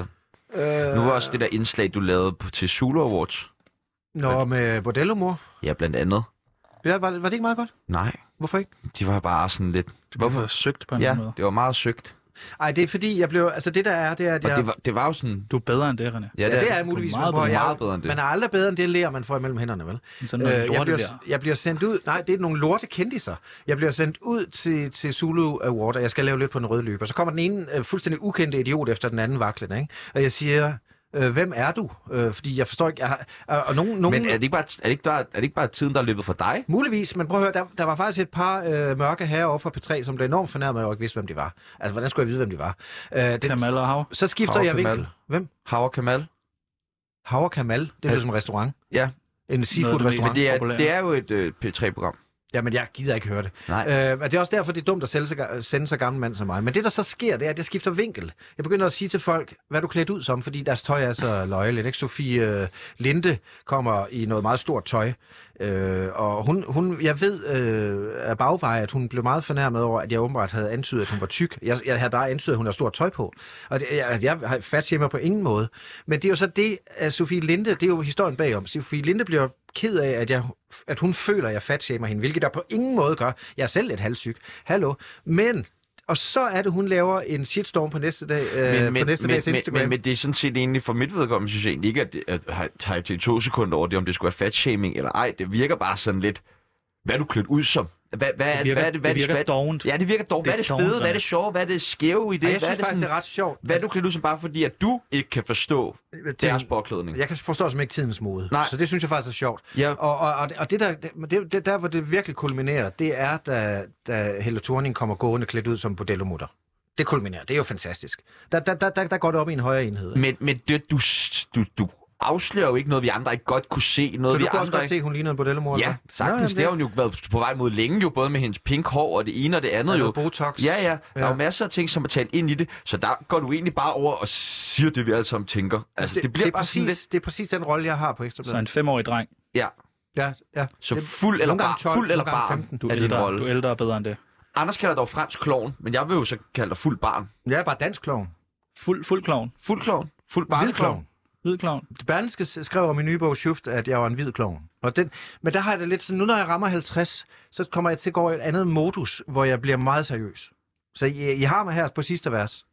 Speaker 5: øh,
Speaker 3: nu var også det der indslag, du lavede på, til Zulu Awards.
Speaker 5: Nå, med Bordello-mor.
Speaker 3: Ja, blandt andet.
Speaker 5: Ja, var, var det ikke meget godt?
Speaker 3: Nej,
Speaker 5: Hvorfor ikke?
Speaker 3: de var bare sådan lidt...
Speaker 2: Hvorfor søgt på en
Speaker 3: Ja,
Speaker 2: ja. måde?
Speaker 3: det var meget søgt.
Speaker 5: Ej, det er fordi, jeg blev... Altså, det der er, det er, at
Speaker 3: Og
Speaker 5: jeg...
Speaker 3: det var, det var jo sådan...
Speaker 2: Du er bedre end det, René.
Speaker 5: Ja, det er
Speaker 3: det.
Speaker 5: jeg muligvis.
Speaker 2: Du er meget
Speaker 5: men prøv at-
Speaker 3: bedre.
Speaker 5: jeg-
Speaker 3: Meget bedre end det.
Speaker 5: Man er aldrig bedre end det lærer, man får imellem hænderne, vel? Øh,
Speaker 2: Sådan
Speaker 3: Øh,
Speaker 2: noget
Speaker 5: jeg,
Speaker 2: lorte
Speaker 5: bliver,
Speaker 2: der.
Speaker 5: jeg bliver sendt ud... Nej, det er nogle lorte kendiser. Jeg bliver sendt ud til, til Zulu Award, og jeg skal lave lidt på den røde løber. Så kommer den ene øh, fuldstændig ukendte idiot efter den anden vaklende, ikke? Og jeg siger... Øh, hvem er du? Øh, fordi jeg forstår ikke... Jeg har, og og nogen, nogen,
Speaker 3: Men er det, ikke bare, er, det ikke, der, er det ikke bare tiden, der er løbet for dig?
Speaker 5: Muligvis, men prøv at høre, der, der var faktisk et par øh, mørke herrer over fra P3, som blev enormt fornærmet, og jeg ikke vidste, hvem de var. Altså, hvordan skulle jeg vide, hvem de var? Øh, det,
Speaker 2: Kamal og Hav.
Speaker 5: så skifter
Speaker 3: Hav
Speaker 5: jeg
Speaker 3: Kamal.
Speaker 5: vinkel. Hvem?
Speaker 3: Hauer Kamal?
Speaker 5: Hav og Kamal. Det lyder som en restaurant.
Speaker 3: Ja.
Speaker 5: En
Speaker 2: Noget af det mest-
Speaker 5: seafood-restaurant.
Speaker 3: Men det er,
Speaker 2: populære.
Speaker 3: det er jo et øh, P3-program.
Speaker 5: Jamen, jeg gider ikke høre det.
Speaker 3: Nej.
Speaker 5: Øh, og det er også derfor, det er dumt at sælge så, ga- sende så gammel mand som mig. Men det, der så sker, det er, at jeg skifter vinkel. Jeg begynder at sige til folk, hvad er du klædt ud som, fordi deres tøj er så løjeligt. Ikke? Sofie øh, Linde kommer i noget meget stort tøj. Øh, og hun, hun, jeg ved øh, af bagveje, at hun blev meget fornærmet over, at jeg åbenbart havde antydet, at hun var tyk. Jeg, jeg havde bare antydet, at hun har stort tøj på. Og det, jeg, jeg har fat mig på ingen måde. Men det er jo så det, at Sofie Linde, det er jo historien bagom. Sofie Linde bliver ked af, at, jeg, at hun føler, at jeg fatshamer hende, hvilket der på ingen måde gør. Jeg er selv lidt halvsyg. Hallo. Men, og så er det, hun laver en shitstorm på næste dag, øh, men, på næste
Speaker 3: men,
Speaker 5: dags
Speaker 3: men,
Speaker 5: Instagram.
Speaker 3: men, men det er sådan set egentlig for mit vedkommende, synes jeg egentlig ikke, at, det- at har- tager jeg til to sekunder over det, om det skulle være fatshaming eller ej. Det virker bare sådan lidt, hvad er du klædt ud som? Hvad, hvad, er-
Speaker 2: Det virker,
Speaker 3: hvad er det, hvad er
Speaker 2: det virker
Speaker 3: hvad-
Speaker 2: dovent.
Speaker 3: Ja, det virker dog. Hvad er det
Speaker 2: Det er dovent,
Speaker 3: fede? Hvad er det
Speaker 2: Anders.
Speaker 3: sjove? Hvad er det skæve i det?
Speaker 5: Ej, jeg
Speaker 3: hvad
Speaker 5: synes
Speaker 3: er det
Speaker 5: faktisk, det er ret sjovt.
Speaker 3: Hvad er du klædt ud som bare fordi, at du ikke kan forstå deres påklædning?
Speaker 5: Jeg kan forstå simpelthen ikke tidens mode.
Speaker 3: Nej.
Speaker 5: Så det synes jeg faktisk er sjovt.
Speaker 3: Ja.
Speaker 5: Og, og, og, det- og det, der, det- det, det, der, hvor det virkelig kulminerer, det er, da, da Helle Thorning kommer gående klædt ud som bordellomutter. Det kulminerer. Det er jo fantastisk. Der, der, der, der, der går det op i en højere enhed.
Speaker 3: Men, men det, du, du, du afslører jo ikke noget, vi andre ikke godt kunne se. Noget,
Speaker 5: så du
Speaker 3: vi
Speaker 5: kunne også
Speaker 3: andre
Speaker 5: godt se, at hun ligner en bordellomutter?
Speaker 3: Ja,
Speaker 5: hva'? Nå, jamen,
Speaker 3: sagtens. Det har hun jo været på vej mod længe, jo, både med hendes pink hår og det ene og det
Speaker 5: Der er
Speaker 3: andet.
Speaker 5: noget
Speaker 3: Jo.
Speaker 5: botox.
Speaker 3: Ja, ja. Der er
Speaker 5: Ja.
Speaker 3: jo masser af ting, som er talt ind i det, så der går du egentlig bare over og siger det, vi alle sammen tænker. Altså, det, det bliver
Speaker 5: det er
Speaker 3: bare sådan
Speaker 5: præcis,
Speaker 3: lidt...
Speaker 5: Det er præcis den rolle, jeg har på Ekstra
Speaker 2: Så
Speaker 5: Bladet.
Speaker 2: en femårig dreng.
Speaker 3: Ja,
Speaker 5: Ja, ja.
Speaker 3: så
Speaker 5: Det-
Speaker 3: fuld eller
Speaker 5: nogle gange
Speaker 3: bar,
Speaker 5: 12,
Speaker 3: fuld eller
Speaker 5: nogle gange
Speaker 3: barn
Speaker 5: 15.
Speaker 2: Du er,
Speaker 3: er din
Speaker 2: ældre, du er
Speaker 3: rolle.
Speaker 2: ældre og bedre end det.
Speaker 3: Anders kalder dig jo fransk klovn, men jeg vil jo så kalde dig fuld barn.
Speaker 5: Jeg er bare dansk klovn.
Speaker 2: Fuld, fuld klovn.
Speaker 3: Fuld klovn. Fuld barneklovn.
Speaker 2: Hvid klovn.
Speaker 5: Berlingske s- skrev om min nye bog Shift, at jeg var en hvid klovn. Og den, men der har jeg det lidt sådan, nu når jeg rammer 50, så kommer jeg til at gå i et andet modus, hvor jeg bliver meget seriøs. Så I, I har mig her på sidste vers.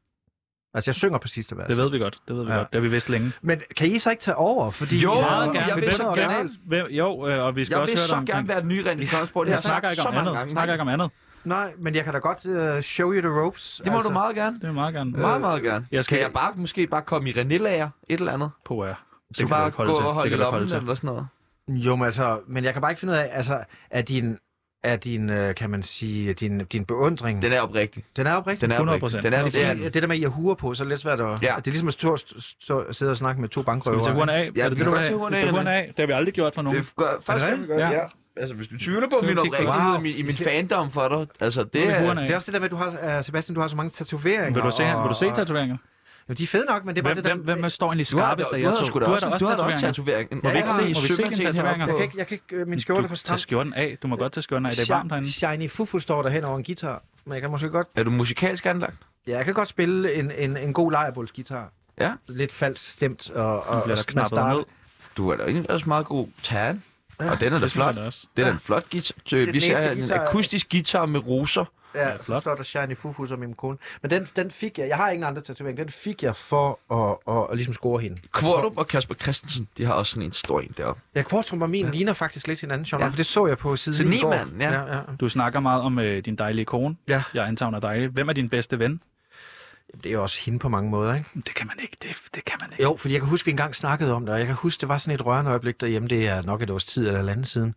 Speaker 5: Altså, jeg synger på sidste vers.
Speaker 2: Det ved vi godt. Det ved vi
Speaker 5: Ja.
Speaker 2: ja. godt. Det har vi vidst længe.
Speaker 5: Men kan I så ikke tage over? Fordi
Speaker 3: Jo,
Speaker 5: I har-
Speaker 3: meget gerne.
Speaker 5: I
Speaker 3: Jeg vil
Speaker 5: har-
Speaker 3: så
Speaker 5: og-
Speaker 3: gerne.
Speaker 2: Hvem, jo, øh, og vi skal
Speaker 3: Jeg
Speaker 2: også
Speaker 3: vil
Speaker 2: høre dig
Speaker 3: så
Speaker 2: omkring...
Speaker 3: gerne være den nye René Fredensborg. Det
Speaker 2: Jeg
Speaker 3: har jeg
Speaker 2: snakker
Speaker 3: sagt
Speaker 2: ikke
Speaker 3: så
Speaker 2: om
Speaker 3: mange
Speaker 2: andet.
Speaker 3: gange.
Speaker 2: Snakker ikke om andet.
Speaker 5: Nej, men jeg kan da godt uh, show you the ropes. Altså-
Speaker 3: Det må du meget gerne.
Speaker 2: Det vil jeg meget gerne.
Speaker 3: Meget, meget gerne.
Speaker 2: jeg skal-
Speaker 3: Kan jeg bare måske bare komme i René-lager? Et eller andet?
Speaker 2: På jer.
Speaker 3: Så
Speaker 2: kan du
Speaker 3: bare
Speaker 2: ikke holde
Speaker 3: gå
Speaker 2: til.
Speaker 3: og
Speaker 2: Det
Speaker 3: holde
Speaker 2: kan du
Speaker 3: i
Speaker 2: ikke holde
Speaker 3: lommen
Speaker 2: til.
Speaker 3: eller sådan noget.
Speaker 5: Jo, men altså, men jeg kan bare ikke finde ud af, altså, er din, er din, øh, kan man sige, din, din beundring, den,
Speaker 3: Den er oprigtig.
Speaker 5: den er oprigtig?
Speaker 3: Den er
Speaker 2: 100%.
Speaker 3: oprigtig. Den er,
Speaker 5: det,
Speaker 3: det
Speaker 5: er,
Speaker 3: er,
Speaker 5: fordi, det der med, at I har huer på, så er det lidt svært at...
Speaker 3: Ja.
Speaker 5: Det er ligesom at stå, stå, sidde og snakke med to
Speaker 2: Skal vi tage
Speaker 5: bankrøver.
Speaker 2: huerne af?
Speaker 3: Ja,
Speaker 2: er det
Speaker 3: vi
Speaker 2: det,
Speaker 3: kan
Speaker 2: du vil
Speaker 3: godt tage
Speaker 2: have?
Speaker 3: huerne
Speaker 2: Vi
Speaker 3: af,
Speaker 2: tager
Speaker 3: eller-
Speaker 2: huerne af. Det har vi aldrig gjort for nogen.
Speaker 3: det gør, først
Speaker 5: Er det
Speaker 3: kan vi gøre, ja.
Speaker 2: rigtigt?
Speaker 3: ja. Altså, hvis du tvivler på
Speaker 2: Så
Speaker 3: min
Speaker 2: kig på-
Speaker 3: oprigtighed
Speaker 5: Wow.
Speaker 3: i min, i min fandom for dig, altså det
Speaker 2: Det er
Speaker 3: er...
Speaker 2: huerne af.
Speaker 5: Det er også det der med, at du har, uh, Sebastian, du har så mange tatoveringer.
Speaker 2: Vil du se,
Speaker 5: og-
Speaker 2: vil du se
Speaker 5: og-
Speaker 2: tatoveringer?
Speaker 5: Jamen, de er fede nok, men det er bare
Speaker 2: Hvem,
Speaker 5: det der...
Speaker 2: hvem, hvem står egentlig
Speaker 3: Du har,
Speaker 2: skarpest af
Speaker 3: du
Speaker 2: jer
Speaker 3: har
Speaker 2: to?
Speaker 3: sgu da også, du har da også tatovering.
Speaker 2: Må vi
Speaker 5: ikke se-
Speaker 2: må vi se dine tatoveringer?
Speaker 5: jeg, kan ikke, jeg kan ikke... øh, Min skjorte er for
Speaker 2: Tag
Speaker 5: stram.
Speaker 2: skjorten af. Du må godt tage skjorten af. Det er varmt herinde.
Speaker 5: Shiny Fufu står der hen over en guitar. Men jeg kan måske godt...
Speaker 3: Er du musikalsk anlagt?
Speaker 5: Ja, jeg kan godt spille en, en, en god lejrebålsguitar.
Speaker 3: Ja.
Speaker 5: Lidt falsk stemt og... og
Speaker 2: Nu bliver
Speaker 5: og-
Speaker 2: der knappet
Speaker 5: start-
Speaker 2: ned.
Speaker 3: Du er da egentlig også meget god tan. Og den er da
Speaker 2: Det
Speaker 3: flot.
Speaker 2: synes jeg også.
Speaker 3: Det er da en flot guitar.
Speaker 5: den
Speaker 3: Vi ser
Speaker 5: eneste
Speaker 3: her en
Speaker 5: guitar, jeg-
Speaker 3: akustisk guitar med roser.
Speaker 5: Ja,
Speaker 2: Ja,
Speaker 5: ja så
Speaker 2: flot.
Speaker 5: står der Shiny Fufu som min kone. Men den, den fik jeg... Jeg har ingen andre tatovering. Den fik jeg for at, at, at ligesom score hende.
Speaker 3: Kvartup og Kasper Christensen, de har også sådan en stor en deroppe.
Speaker 5: Ja, Kvartrum og min ja. ligner faktisk lidt hinanden, Sean, ja.
Speaker 3: Ja.
Speaker 5: for det så jeg på siden i går.
Speaker 3: Senemanden, ja.
Speaker 5: ja, ja.
Speaker 2: Du snakker meget om øh, din dejlige kone.
Speaker 5: Ja.
Speaker 2: Jeg antager, hun er dejlig. Hvem er din bedste ven?
Speaker 5: Det er jo også hende på mange måder, ikke?
Speaker 2: Det kan man ikke. Det, det kan man ikke.
Speaker 5: Jo, fordi jeg kan huske, vi engang snakkede om det, og jeg kan huske, det var sådan et rørende øjeblik derhjemme, det er nok et års tid eller andet siden.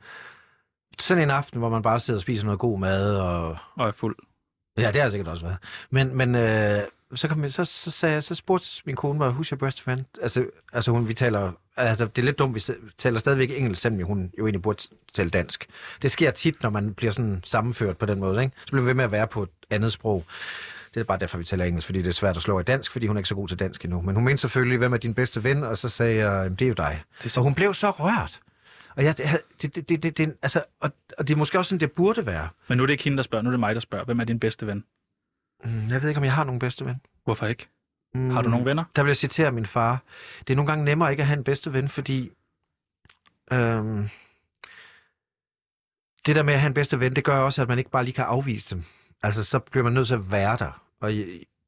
Speaker 5: Sådan en aften, hvor man bare sidder og spiser noget god mad, og
Speaker 2: Og er fuld.
Speaker 5: Ja, det har jeg sikkert også været. Men, men øh, så, kom jeg, så, så, sagde jeg, så spurgte min kone mig, who's your best friend? Altså, altså hun, vi taler, altså, det er lidt dumt, vi st- taler stadigvæk engelsk, selvom hun jo egentlig burde tale dansk. Det sker tit, når man bliver sådan sammenført på den måde, ikke? Så bliver man ved med at være på et andet sprog. Det er bare derfor, vi taler engelsk, fordi det er svært at slå i dansk, fordi hun er ikke så god til dansk endnu. Men hun mente selvfølgelig, hvem er din bedste ven? Og så sagde jeg, "Jamen, det er jo dig.
Speaker 2: Det
Speaker 5: Så hun blev så rørt. Og, jeg, det, det, det, det, det, altså, og, og det er måske også sådan, det burde være.
Speaker 2: Men nu er det ikke hende, der spørger. Nu er det mig, der spørger. Hvem er din bedste ven?
Speaker 5: Mm, Jeg ved ikke, om jeg har nogen bedste ven.
Speaker 2: Hvorfor ikke?
Speaker 5: Mm.
Speaker 2: Har du nogen venner?
Speaker 5: Der vil jeg citere min far. Det er nogle gange nemmere ikke at have en bedste ven, fordi øhm, det der med at have en bedste ven, det gør også, at man ikke bare lige kan afvise dem. Altså, så bliver man nødt til at være der. Og jeg-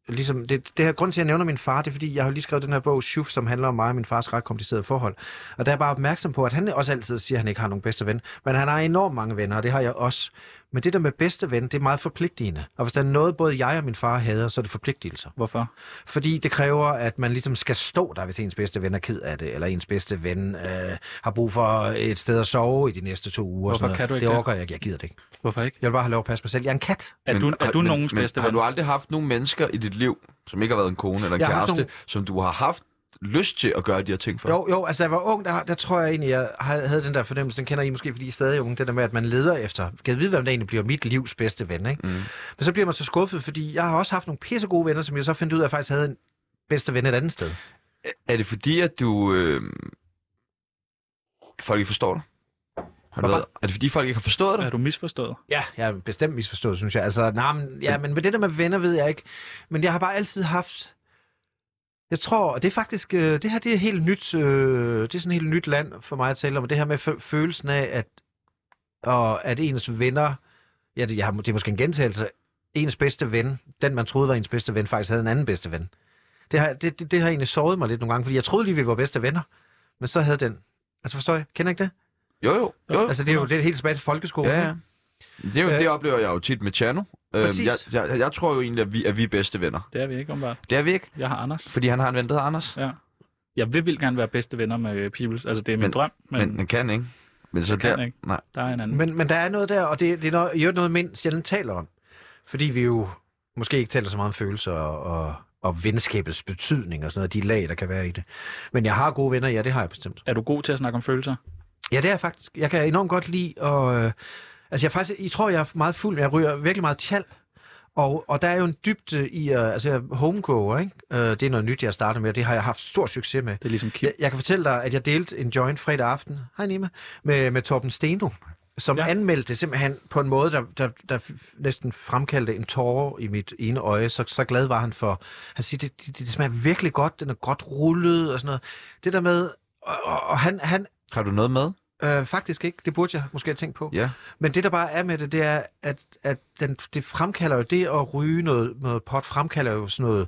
Speaker 5: ligesom, det, det her grund til, at jeg nævner min far, det er, fordi jeg har jo lige skrevet den her bog, Shuf, som handler om mig og min fars ret komplicerede forhold. Og der er jeg bare opmærksom på, at han også altid siger, at han ikke har nogen bedste ven. Men han har enormt mange venner, og det har jeg også. Men det der med bedste ven, det er meget forpligtigende. Og hvis der er noget, både jeg og min far hader, så er det forpligtelser.
Speaker 2: Hvorfor?
Speaker 5: Fordi det kræver, at man ligesom skal stå der, hvis ens bedste ven er ked af det, eller ens bedste ven øh, har brug for et sted at sove i de næste to uger. og sådan
Speaker 2: Hvorfor kan
Speaker 5: noget.
Speaker 2: du ikke
Speaker 5: det?
Speaker 2: det?
Speaker 5: orker jeg ikke. Jeg gider det ikke.
Speaker 2: Hvorfor ikke?
Speaker 5: Jeg vil bare have lov at passe mig selv. Jeg er en kat.
Speaker 2: Er du, er du nogens bedste
Speaker 3: Har
Speaker 2: ven?
Speaker 3: du aldrig haft nogen mennesker i dit liv, som ikke har været en kone eller en
Speaker 5: Jeg har haft
Speaker 3: kæreste,
Speaker 5: nogle-
Speaker 3: som du har haft lyst til at gøre de her ting for?
Speaker 5: Jo, jo, altså da jeg var ung, der, der tror jeg egentlig, jeg havde, havde den der fornemmelse, den kender I måske, fordi I er stadig unge, det der med, at man leder efter, kan jeg vide, hvem der egentlig bliver mit livs bedste ven, ikke? Mm. Men så bliver man så skuffet, fordi jeg har også haft nogle pissegode venner, som jeg så fandt ud af, at jeg faktisk havde en bedste ven et andet sted.
Speaker 3: Er det fordi, at du... Øh... Folk ikke forstår dig? Har du
Speaker 5: Hvad?
Speaker 3: været... Er det fordi, folk ikke har forstået dig?
Speaker 2: Er du misforstået?
Speaker 5: Ja, jeg er bestemt misforstået, synes jeg. Altså, nej, men, ja, men med det der med venner ved jeg ikke. Men jeg har bare altid haft... Jeg tror, og det er faktisk... øh, Det her, det er helt nyt... Øh, det er sådan et helt nyt land for mig at tale om. og Det her med fø- følelsen af, at, og at ens venner... Ja, det, jeg har, det er måske en gentagelse. Ens bedste ven, den man troede var ens bedste ven, faktisk havde en anden bedste ven. Det har, det, det, det har egentlig såret mig lidt nogle gange, fordi jeg troede lige, vi var bedste venner. Men så havde den... Altså forstår jeg? Kender I ikke det?
Speaker 3: Jo, jo. jo.
Speaker 5: Altså det er jo det er helt tilbage til folkeskolen.
Speaker 3: Ja,
Speaker 5: ikke?
Speaker 3: ja. Det, er jo,
Speaker 5: Øh.
Speaker 3: det oplever jeg jo tit med Tjerno. Øhm,
Speaker 5: Præcis.
Speaker 3: jeg, jeg, jeg tror jo egentlig, at vi, at vi er bedste venner.
Speaker 2: Det er vi ikke omvendt.
Speaker 3: Det er vi ikke,
Speaker 2: Jeg har Anders.
Speaker 3: fordi han har en ven, der hedder Anders.
Speaker 2: Ja. Jeg vil vildt gerne være bedste venner med øh, Peoples. Altså, det er min
Speaker 3: Men-
Speaker 2: drøm, men,
Speaker 3: Men
Speaker 2: men
Speaker 3: han kan ikke. Men så
Speaker 2: Jeg kan
Speaker 3: der...
Speaker 2: ikke.
Speaker 3: Nej.
Speaker 2: der er en anden. Men,
Speaker 5: Men, men der er noget der, og det, det er noget, i øvrigt noget, mænd sjældent taler om. Fordi vi jo måske ikke taler så meget om følelser og, og, og venskabets betydning og sådan noget, de lag, der kan være i det. Men jeg har gode venner, ja, det har jeg bestemt.
Speaker 2: er du god til at snakke om følelser?
Speaker 5: Ja, det er jeg faktisk. Jeg kan enormt godt lide at... Øh, altså, jeg, er faktisk, I tror, jeg er meget fuld, men jeg ryger virkelig meget tjal. Og, og der er jo en dybde i... Øh, altså, jeg er homegoer, ikke? Øh, det er noget nyt, jeg starter med, og det har jeg haft stor succes med.
Speaker 2: Det er ligesom Kim.
Speaker 5: Jeg, jeg kan fortælle dig, at jeg delte en joint fredag aften, hej Nima, med, med Torben Steno, som
Speaker 2: Ja.
Speaker 5: ja. anmeldte det simpelthen på en måde, der, der, der f- næsten fremkaldte en tåre i mit ene øje. Så, så glad var han for. Han siger, det, det, det smager virkelig godt, den er godt rullet og sådan noget. Det der med, og, og, og han, han
Speaker 3: Har du noget med?
Speaker 5: øh, faktisk ikke, det burde jeg måske have tænkt på.
Speaker 3: Ja.
Speaker 5: Men det, der bare er med det, det er, at, at den, det fremkalder jo det at ryge noget, noget pot, fremkalder jo sådan noget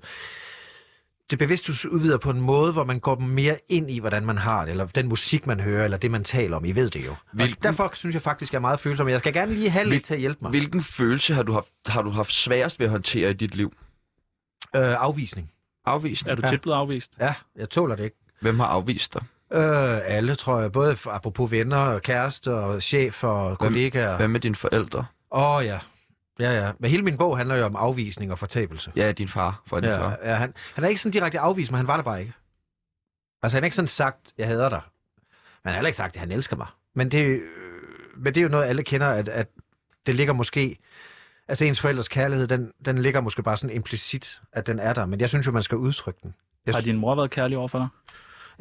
Speaker 5: det bevidst udvider på en måde, hvor man går mere ind i, hvordan man har det, eller den musik, man hører, eller det, man taler om. I ved det jo.
Speaker 3: Hvilken-
Speaker 5: Hvilken... Derfor synes jeg faktisk, jeg er meget følsom. Jeg skal gerne lige have
Speaker 3: Hvil-
Speaker 5: lidt til at hjælpe mig. Vil...
Speaker 3: Hvilken følelse har du haft, har du haft sværest ved at håndtere i dit liv?
Speaker 5: Øh, afvisning.
Speaker 3: Afvisen.
Speaker 2: Er du
Speaker 5: Ja.
Speaker 2: tit blevet afvist?
Speaker 5: Ja, jeg tåler det ikke.
Speaker 3: Hvem har afvist dig?
Speaker 5: Øh, alle, tror jeg. Både f- apropos venner, og kærester, og chef og kollegaer.
Speaker 3: Hvad med dine forældre?
Speaker 5: Åh, oh, ja. Ja, ja. Men hele min bog handler jo om afvisning og fortabelse.
Speaker 3: Ja, din far. For din far.
Speaker 5: Ja, ja, han, han er ikke sådan direkte afvist, men han var der bare ikke. Altså, han har ikke sådan sagt, jeg hader dig. Men han har heller ikke sagt, at han elsker mig. Men det, øh, men det er jo noget, alle kender, at, at det ligger måske... Altså, ens forældres kærlighed, den, den ligger måske bare sådan implicit, at den er der. Men jeg synes jo, man skal udtrykke den. Jeg
Speaker 2: Har
Speaker 5: synes,
Speaker 2: din mor været kærlig over for dig?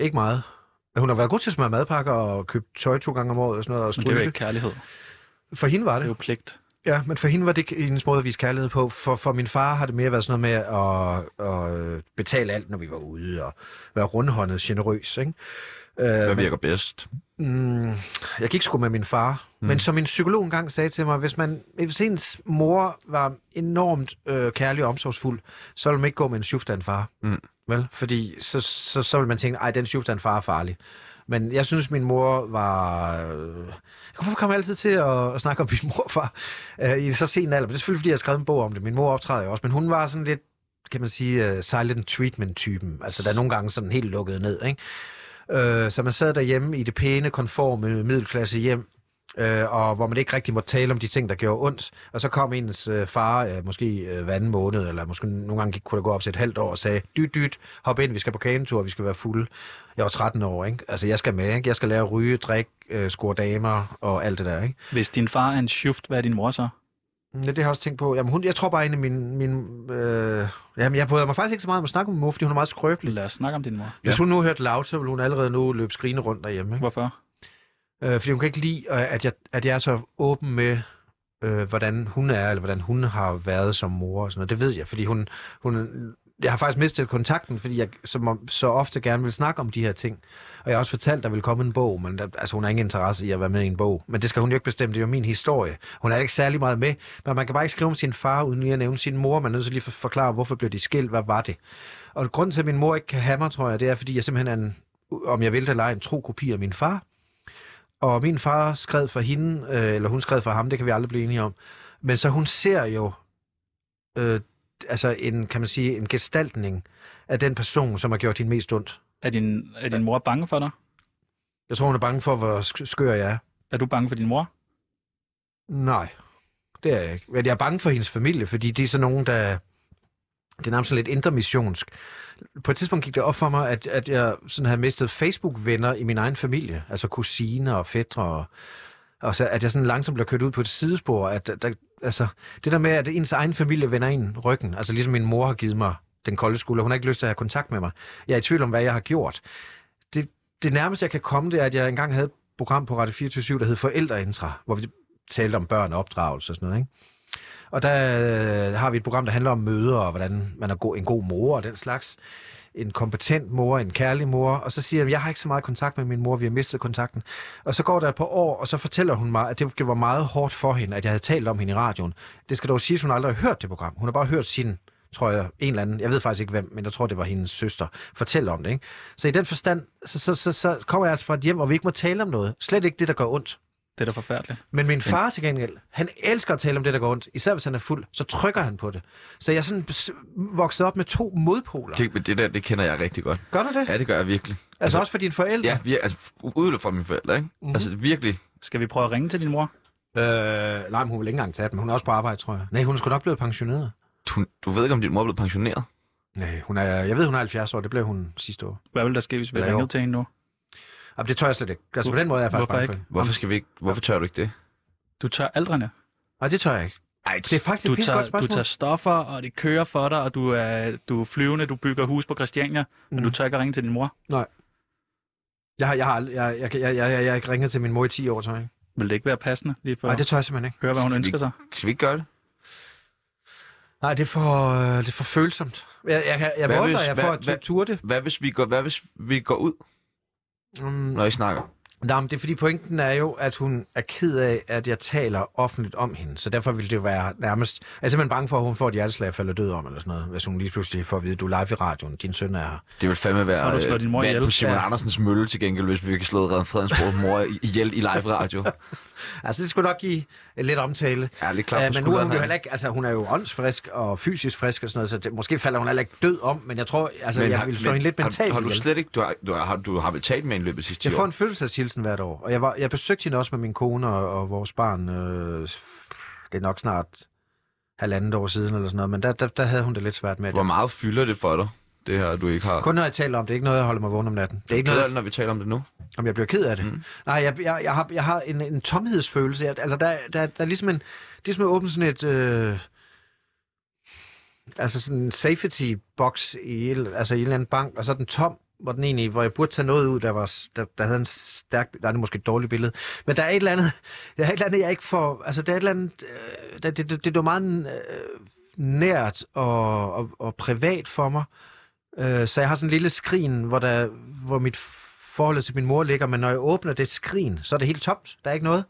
Speaker 5: Ikke meget. Hun har været god til at smøre madpakker og købe tøj to gange om året og sådan noget. Og
Speaker 2: Men det er jo
Speaker 5: stryge
Speaker 2: ikke kærlighed.
Speaker 5: det. For hende var
Speaker 2: Det
Speaker 5: det.
Speaker 2: er jo pligt.
Speaker 5: Ja, men for hende var det ikke hendes måde at vise kærlighed på. For, for min far har det mere været sådan noget med at, at betale alt, når vi var ude, og være rundhåndet generøs. Ikke? Øh,
Speaker 3: Hvad
Speaker 5: men,
Speaker 3: virker bedst?
Speaker 5: mm, jeg gik sgu med min far,
Speaker 3: Mm.
Speaker 5: mm. men som en psykolog engang sagde til mig, hvis, man, hvis ens mor var enormt øh, kærlig og omsorgsfuld, så ville man ikke gå med en sjuft af en far.
Speaker 3: Mm.
Speaker 5: Vel? Fordi så, så, så ville man tænke, ej, den sjuft af en far er farlig. Men jeg synes, min mor var... øh, Hvorfor kommer jeg altid til at, at snakke om min morfar øh, i så sen alder? Men det er selvfølgelig, fordi jeg har skrevet en bog om det. Min mor optræder jo også, men hun var sådan lidt, kan man sige, uh, silent treatment-typen. Altså, der er nogle gange sådan helt lukket ned, ikke? Øh, så man sad derhjemme i det pæne, konforme middelklasse hjem, øh, og hvor man ikke rigtig måtte tale om de ting, der gjorde ondt. Og så kom ens øh, far, øh, måske øh, hver anden måned, eller måske nogle gange gik- kunne der gå op til et halvt år, og sagde, dyt, dyt, hop ind, vi skal på kagentur, vi skal være fulde. Jeg var 13 år, ikke? Altså, jeg skal med, ikke? Jeg skal lære at ryge, drikke, øh, score damer og alt det der, ikke?
Speaker 2: Hvis din far er en shift, hvad er din mor så?
Speaker 5: Mm. Ja, det har jeg også tænkt på. Jamen, hun, jeg tror bare, at min... min øh, jamen, jeg bryder mig faktisk ikke så meget om at snakke med min mor, fordi hun er meget skrøbelig.
Speaker 2: Lad os snakke om din mor.
Speaker 5: Hvis hun nu hørte Loud, så ville hun allerede nu løbe skrigende rundt derhjemme. Ikke?
Speaker 2: Hvorfor?
Speaker 5: Øh, fordi hun kan ikke lide, øh, at jeg, at jeg er så åben med, øh, hvordan hun er, eller hvordan hun har været som mor og sådan noget. Det ved jeg, fordi hun... hun jeg har faktisk mistet kontakten, fordi jeg som, så ofte gerne vil snakke om de her ting. Og jeg har også fortalt, at der vil komme en bog, men der, altså, hun har ingen interesse i at være med i en bog. Men det skal hun jo ikke bestemme, det er jo min historie. Hun er ikke særlig meget med, men man kan bare ikke skrive om sin far, uden lige at nævne sin mor. Man er nødt til lige at forklare, hvorfor blev de skilt, hvad var det? Og grunden til, at min mor ikke kan have mig, tror jeg, det er, fordi jeg simpelthen er en, om jeg vil det eller ej, en tro kopi af min far. Og min far skrev for hende, øh, eller hun skrev for ham, det kan vi aldrig blive enige om. Men så hun ser jo, øh, altså en, kan man sige, en gestaltning af den person, som har gjort hende mest ondt.
Speaker 2: Er din, er din mor bange for dig?
Speaker 5: Jeg tror, hun er bange for, hvor sk- skør jeg er.
Speaker 2: Er du bange for din mor?
Speaker 5: Nej, det er jeg ikke. Men jeg er bange for hendes familie, fordi de er sådan nogen, der... Det er nærmest sådan lidt intermissionsk. på et tidspunkt gik det op for mig, at, at jeg sådan havde mistet Facebook-venner i min egen familie, altså kusiner og fædre, og, og så, at jeg sådan langsomt blev kørt ud på et sidespor, at der, altså, det der med, at ens egen familie vender en ryggen, altså ligesom min mor har givet mig den kolde skulder, hun har ikke lyst til at have kontakt med mig, jeg er i tvivl om, hvad jeg har gjort. Det, det nærmeste, jeg kan komme, det er, at jeg engang havde et program på Radio 24 der hed Forældreintra, hvor vi talte om børn og opdragelse og sådan noget, ikke? Og der øh, har vi et program, der handler om møder og hvordan man er go- en god mor og den slags. En kompetent mor, en kærlig mor. Og så siger jeg, jeg har ikke så meget kontakt med min mor, vi har mistet kontakten. Og så går der et par år, og så fortæller hun mig, at det var meget hårdt for hende, at jeg havde talt om hende i radioen. Det skal dog siges, at hun aldrig har hørt det program. Hun har bare hørt sin tror jeg, en eller anden, jeg ved faktisk ikke hvem, men jeg tror, det var hendes søster, fortælle om det. Ikke? Så i den forstand, så, så, så, så kommer jeg altså fra et hjem, hvor vi ikke må tale om noget. Slet ikke det, der gør ondt.
Speaker 2: Det er da forfærdeligt.
Speaker 5: Men min far til gengæld, han elsker at tale om det, der går ondt. Især hvis han er fuld, så trykker han på det. Så jeg er sådan bes- vokset op med to modpoler.
Speaker 3: Det, men det der, det kender jeg rigtig godt.
Speaker 5: Gør du det?
Speaker 3: Ja, det gør jeg virkelig.
Speaker 5: Altså også for dine forældre?
Speaker 3: Ja, vi, altså, udelukkende fra mine forældre, ikke?
Speaker 5: Mhm.
Speaker 3: Mm-hmm. Altså, virkelig.
Speaker 2: Skal vi prøve at ringe til din mor?
Speaker 5: Øh, nej, men hun vil ikke engang tage den. Hun er også på arbejde, tror jeg. Nej, hun er sgu nok blevet pensioneret.
Speaker 3: Du, du ved ikke, om din mor er blevet pensioneret?
Speaker 5: Nej, hun er, jeg ved, hun er 70 år. Det blev hun sidste år.
Speaker 2: Hvad vil der ske, hvis vi
Speaker 5: Eller
Speaker 2: ringer
Speaker 5: jo.
Speaker 2: til hende nu?
Speaker 5: Jamen, det tør jeg slet ikke. Altså, på den måde er jeg faktisk
Speaker 2: Hvorfor
Speaker 5: bange for det.
Speaker 3: Hvorfor, skal vi ikke, hvorfor tør du ikke det?
Speaker 2: Du tør aldrene.
Speaker 5: Nej, det tør jeg ikke.
Speaker 3: Ej,
Speaker 5: Det er faktisk
Speaker 2: Du
Speaker 5: et pissegodt
Speaker 2: tager, du
Speaker 5: spørgsmål.
Speaker 2: tager stoffer, og det kører for dig, og du er, du er flyvende, du bygger hus på Christiania, men
Speaker 5: Mm.
Speaker 2: du tør ikke at ringe til din mor.
Speaker 5: Jeg, har, jeg, har, ald- jeg, jeg, jeg, jeg, jeg, jeg har ikke ringet til min mor i 10 år, tror jeg.
Speaker 2: Vil det ikke være passende lige for
Speaker 5: Nej, det
Speaker 2: at
Speaker 5: tør jeg simpelthen ikke.
Speaker 2: høre, hvad hun
Speaker 3: Skal vi
Speaker 2: ønsker sig?
Speaker 3: Skal vi ikke gøre det?
Speaker 5: Nej, det er for, øh, det er for følsomt. Jeg, jeg, jeg, jeg
Speaker 3: Hvad
Speaker 5: måler,
Speaker 3: hvis-
Speaker 5: jeg
Speaker 3: hvad-
Speaker 5: får at
Speaker 3: hvad-
Speaker 5: turde det.
Speaker 3: Hvad hvis vi går, hvad hvis vi går ud,
Speaker 5: Mm,
Speaker 3: når I snakker?
Speaker 5: Nej, men det er fordi pointen er jo, at hun er ked af, at jeg taler offentligt om hende. Så derfor ville det jo være nærmest... Jeg er simpelthen bange for, at hun får et hjerteslag og falder død om, eller sådan noget. Hvis hun lige pludselig får at vide, du er live i radioen, din søn er her.
Speaker 3: Det vil fandme
Speaker 2: Så har
Speaker 3: være
Speaker 2: du slået
Speaker 3: øh,
Speaker 2: din mor
Speaker 3: vand
Speaker 2: ihjel.
Speaker 3: på Simon
Speaker 5: Ja.
Speaker 3: ja. Andersens mølle til gengæld, hvis vi ikke slået Redden Fredensborg mor i- ihjel i live radio.
Speaker 5: Altså, det skulle nok give øh, lidt omtale.
Speaker 3: Ja, lidt klart
Speaker 5: Ja,
Speaker 3: på
Speaker 5: men nu er
Speaker 3: skulderen.
Speaker 5: hun jo
Speaker 3: her.
Speaker 5: heller ikke, altså hun er jo åndsfrisk og fysisk frisk og sådan noget, så det, måske falder hun heller ikke død om, men jeg tror, altså men, jeg
Speaker 3: har-
Speaker 5: ville slå hende lidt
Speaker 3: har-
Speaker 5: mentalt
Speaker 3: Har, du
Speaker 5: ihjel.
Speaker 3: slet ikke... Du har, du har, du har vel talt med hende i løbet af sidste
Speaker 5: Jeg
Speaker 3: ti
Speaker 5: får
Speaker 3: år?
Speaker 5: en fødselsdagshilsen hvert år, og jeg, var, jeg besøgte hende også med min kone og, og vores barn. Øh, det er nok snart halvandet år siden eller sådan noget, men der, der, der havde hun det lidt svært med. at
Speaker 3: Hvor meget fylder det for dig, det her, du ikke har...
Speaker 5: Kun når jeg taler om det, er ikke noget, jeg holder mig vågen om natten. Det er ikke
Speaker 3: Ked af
Speaker 5: noget,
Speaker 3: det, når vi taler om det nu.
Speaker 5: om jeg bliver ked af det. Mm.
Speaker 3: Mm.
Speaker 5: Nej, jeg, jeg, jeg, har, jeg har en, en tomhedsfølelse. Jeg, altså, der, der, der er ligesom en... Det er som at åbne sådan et... Øh, altså sådan en safety box i, el- altså i en eller anden bank, og så er den tom, hvor, den egentlig, hvor jeg burde tage noget ud, der, var, s- der, der havde en stærk... Der er det måske et dårligt billede. Men der er et eller andet, der er et eller andet jeg ikke får... Altså, der er et eller andet... Øh, der, det, det, det er meget øh, nært og, og, og privat for mig. Øh, så jeg har sådan en lille skrin, hvor, der, hvor mit forhold til min mor ligger, men når jeg åbner det skrin, så er det helt tomt. Der er ikke noget.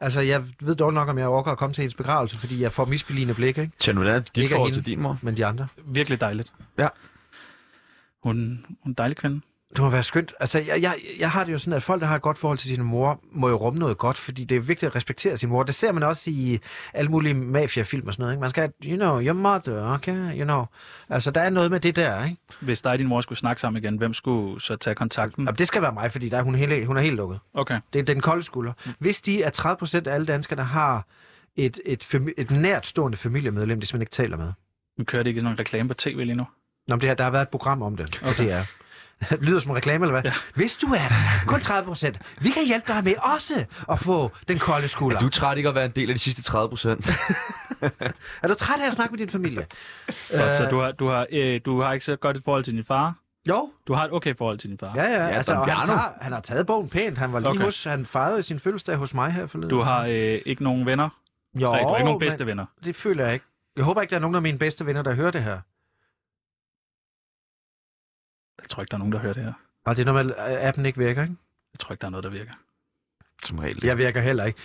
Speaker 5: Altså, jeg ved dårligt nok, om jeg overgår at komme til hendes begravelse, fordi jeg får misbeligende blik, ikke?
Speaker 3: Tjern, hvordan er
Speaker 5: Ikke
Speaker 3: dit
Speaker 5: af
Speaker 3: forhold
Speaker 5: hende.
Speaker 3: til din mor?
Speaker 5: Men de andre.
Speaker 2: Virkelig dejligt.
Speaker 3: Ja.
Speaker 2: Hun, hun er en dejlig kvinde.
Speaker 5: Det må være skønt. Altså, jeg, jeg, jeg har det jo sådan, at folk, der har et godt forhold til sin mor, må jo rumme noget godt, fordi det er vigtigt at respektere sin mor. Det ser man også i alle mulige mafiafilm og sådan noget, ikke? Man skal, you know, your mother, okay, you know. Altså, der er noget med det der, ikke?
Speaker 2: Hvis dig og din mor skulle snakke sammen igen, hvem skulle så tage kontakten?
Speaker 5: Jamen, det skal være mig, fordi der er hun, hele, hun er helt lukket.
Speaker 2: Okay.
Speaker 5: Det er den kolde skulder.
Speaker 2: Mm.
Speaker 5: Hvis de er 30 procent af alle danskere, der har et, et, fami- et nærtstående familiemedlem, de simpelthen ikke taler med.
Speaker 2: Nu kører det ikke sådan nogle reklame på tv lige nu.
Speaker 5: Nå, men det her, der har været et program om det. Okay.
Speaker 2: Okay.
Speaker 5: Det er. Lyder som en reklame, eller hvad? Ja. Hvis du er det, kun 30 procent, vi kan hjælpe dig med også at få den kolde skulder.
Speaker 3: Er du træt ikke at være en del af de sidste 30 procent?
Speaker 5: er du træt af at snakke med din familie?
Speaker 2: Godt, så du har, du, har, øh, du har ikke så godt et forhold til din far.
Speaker 5: Jo,
Speaker 2: Du har et okay forhold til din far.
Speaker 5: ja, ja. altså,
Speaker 3: Don
Speaker 5: og han,
Speaker 3: Bjarno.
Speaker 5: tager, han har taget bogen pænt. Han var lige okay.
Speaker 2: Okay.
Speaker 5: hos, han fejrede sin fødselsdag hos mig her forleden.
Speaker 2: Du har øh, ikke nogen venner.
Speaker 5: jo,
Speaker 2: Nej, du har ikke nogen
Speaker 5: men
Speaker 2: bedste venner.
Speaker 5: Det føler jeg ikke. Jeg håber ikke, der er nogen af mine bedste venner, der hører det her.
Speaker 2: Jeg tror ikke, der er nogen, der hører det her.
Speaker 5: Og det er noget med, at appen ikke virker, ikke?
Speaker 2: Jeg tror ikke, der er noget, der virker.
Speaker 3: Som regel.
Speaker 5: Jeg virker heller ikke.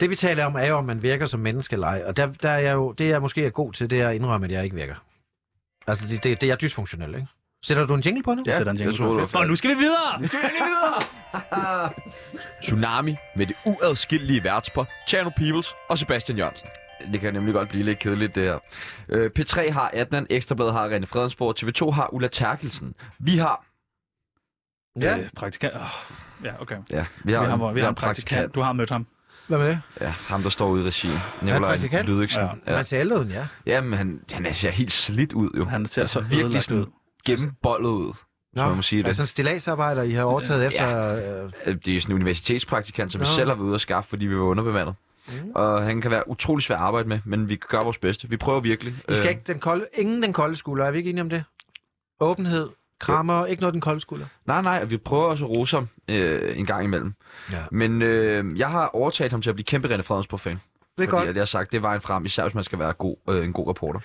Speaker 5: Det vi taler om er jo, om man virker som menneske eller ej. Og der, der er jeg jo, det jeg måske er god til, det er at indrømme, at jeg ikke virker. Altså, det, det, det er dysfunktionel, ikke? Sætter du en jingle på nu?
Speaker 2: Ja, sætter en jingle på. For nu skal vi videre!
Speaker 1: Tsunami med det uadskillelige værtspar Tjerno Peoples og Sebastian Jørgensen.
Speaker 3: Det kan nemlig godt blive lidt kedeligt, det her. Øh, P3 har Adnan, Ekstrabladet har René Fredensborg, TV2 har Ulla Terkelsen. Vi har...
Speaker 2: Øh, praktikant. Oh, ja, okay.
Speaker 3: Ja, vi
Speaker 2: Vi har, vi har en praktikant. Du har mødt ham.
Speaker 5: Hvad med det?
Speaker 3: Ja, ham der står ude i regien. Nikolaj
Speaker 5: praktikant?
Speaker 3: Lydiksen.
Speaker 2: Ja.
Speaker 3: Ja.
Speaker 5: Man ser ældre ud, ja.
Speaker 3: Jamen, han, han ser helt slidt ud jo.
Speaker 2: Han ser så
Speaker 3: virkelig
Speaker 2: Altså, ødelagt
Speaker 3: sådan,
Speaker 2: ud.
Speaker 3: gennembollet ud, hvis man må sige det.
Speaker 5: altså en stilagsarbejder, I har overtaget efter... Øh,
Speaker 3: Øh, det er sådan en universitetspraktikant, som vi
Speaker 5: Nå.
Speaker 3: selv har været ude at skaffe, fordi vi var underbemandet.
Speaker 5: Mm.
Speaker 3: Mm. Og han kan være utrolig svær at arbejde med, men vi gør vores bedste. Vi prøver virkelig.
Speaker 5: I skal
Speaker 3: Øh,
Speaker 5: ikke den kolde, ingen den kolde skulder, er vi ikke enige om det? Åbenhed, krammer, ikke noget den kolde skulder.
Speaker 3: Nej, nej, og vi prøver også at rose ham øh, en gang imellem.
Speaker 5: Ja.
Speaker 3: Men øh, jeg har overtalt ham til at blive kæmpe René Fredensborg-fan.
Speaker 5: Det er
Speaker 3: fordi
Speaker 5: godt.
Speaker 3: at jeg har sagt, det er vejen frem, især hvis man skal være god, øh, en god reporter.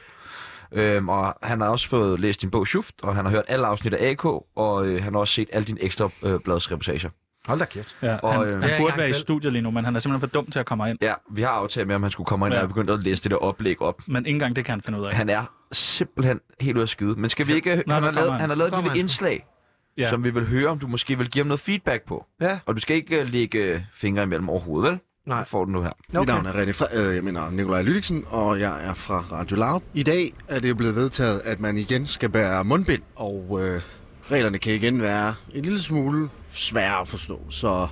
Speaker 3: Øhm, og han har også fået læst din bog Schuft, og han har hørt alle afsnit af AK, og øh, han har også set alle dine ekstra øh, bladsreportager.
Speaker 5: Hold da kæft.
Speaker 2: Ja,
Speaker 3: Og,
Speaker 2: han,
Speaker 3: øh,
Speaker 5: jeg er
Speaker 2: han
Speaker 5: ikke
Speaker 2: burde være i
Speaker 5: selv.
Speaker 2: studiet lige nu, men han er simpelthen for dum til at komme ind.
Speaker 3: Ja, vi har aftalt med ham, at han skulle komme ind, ja.
Speaker 2: Ja.
Speaker 3: og jeg begyndte at læse det der oplæg op.
Speaker 2: Men ikke engang det kan han finde ud af.
Speaker 3: Han er simpelthen helt ude af skide. Men skal vi ikke...
Speaker 2: Nå,
Speaker 3: han,
Speaker 2: nu
Speaker 3: har lavet,
Speaker 2: kommer han.
Speaker 3: han har lavet
Speaker 5: Nu
Speaker 3: et
Speaker 5: kommer
Speaker 3: lille
Speaker 5: han sgu.
Speaker 3: indslag,
Speaker 2: Ja.
Speaker 3: ja. som vi vil høre, om du måske vil give ham noget feedback på.
Speaker 5: Ja.
Speaker 3: Og du skal ikke øh, lægge fingre imellem overhovedet, vel?
Speaker 5: Nej.
Speaker 3: Nu får du nu her.
Speaker 5: Nå,
Speaker 6: Mit navn er René Fre- øh, jeg mener Nikolaj Lydiksen, og jeg er fra Radio Loud. I dag er det jo blevet vedtaget, at man igen skal bære mundbind, og øh, reglerne kan igen være en lille smule svære at forstå. Så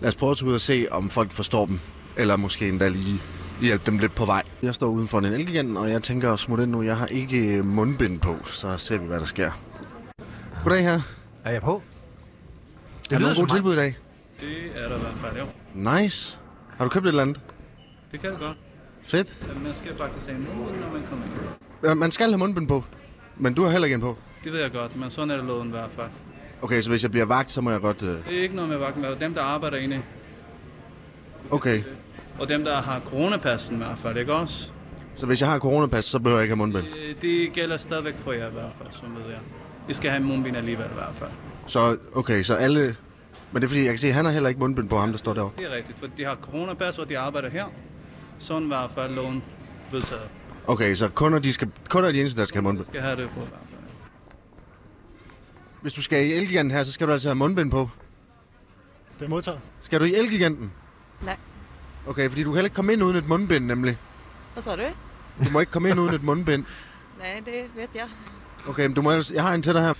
Speaker 6: lad os prøve at tage ud og se, om folk forstår dem, eller måske endda lige hjælpe dem lidt på vej. Jeg står udenfor en elgiganten, og jeg tænker at smutte ind nu. Jeg har ikke øh, mundbind på, så ser vi, hvad der sker. Goddag her.
Speaker 5: Er jeg på?
Speaker 6: Det er
Speaker 5: lyder
Speaker 6: nogle
Speaker 5: som mig.
Speaker 6: gode tilbud i dag.
Speaker 7: Det er der i hvert fald, jo.
Speaker 6: Nice. Har du købt et eller andet?
Speaker 7: Det kan det godt.
Speaker 6: Fedt.
Speaker 7: Men man skal faktisk have munden, når man kommer ind.
Speaker 6: Øh, Man skal have mundbind på, men du har heller ikke en på.
Speaker 7: Det ved jeg godt, men sådan er det loven i hvert fald.
Speaker 6: Okay, så hvis jeg bliver vagt, så må jeg godt... Øh...
Speaker 7: Det er ikke noget med vagten, det er dem, der arbejder inde.
Speaker 6: Okay,
Speaker 7: Og dem, der har coronapassen i hvert fald, ikke også?
Speaker 6: så hvis jeg har coronapas, så behøver jeg ikke have mundbind.
Speaker 7: Øh, Det gælder stadigvæk for jer i hvert fald, som ved jeg. I skal have en mundbind alligevel i hvert fald.
Speaker 6: Så okay, så alle... Men det er fordi, jeg kan se, at han har heller ikke mundbind på ham, der står derovre.
Speaker 7: Det er rigtigt, for de har coronapas, og de arbejder her. Sådan i hvert fald loven vedtaget.
Speaker 6: Okay, så kunder, de skal, kunder er de eneste, der skal have mundbind.
Speaker 7: Skal have det på i hvert fald.
Speaker 6: Hvis du skal i Elgiganten her, så skal du altså have mundbind på. Det er modtaget. Skal du i Elgiganten?
Speaker 8: Nej.
Speaker 6: Okay, fordi du kan heller ikke komme ind uden et mundbind, nemlig.
Speaker 8: Hvad så du?
Speaker 6: Du må ikke komme ind uden et mundbind.
Speaker 8: Nej, det ved jeg.
Speaker 6: Okay, men du må ellers... Jeg har en til dig her.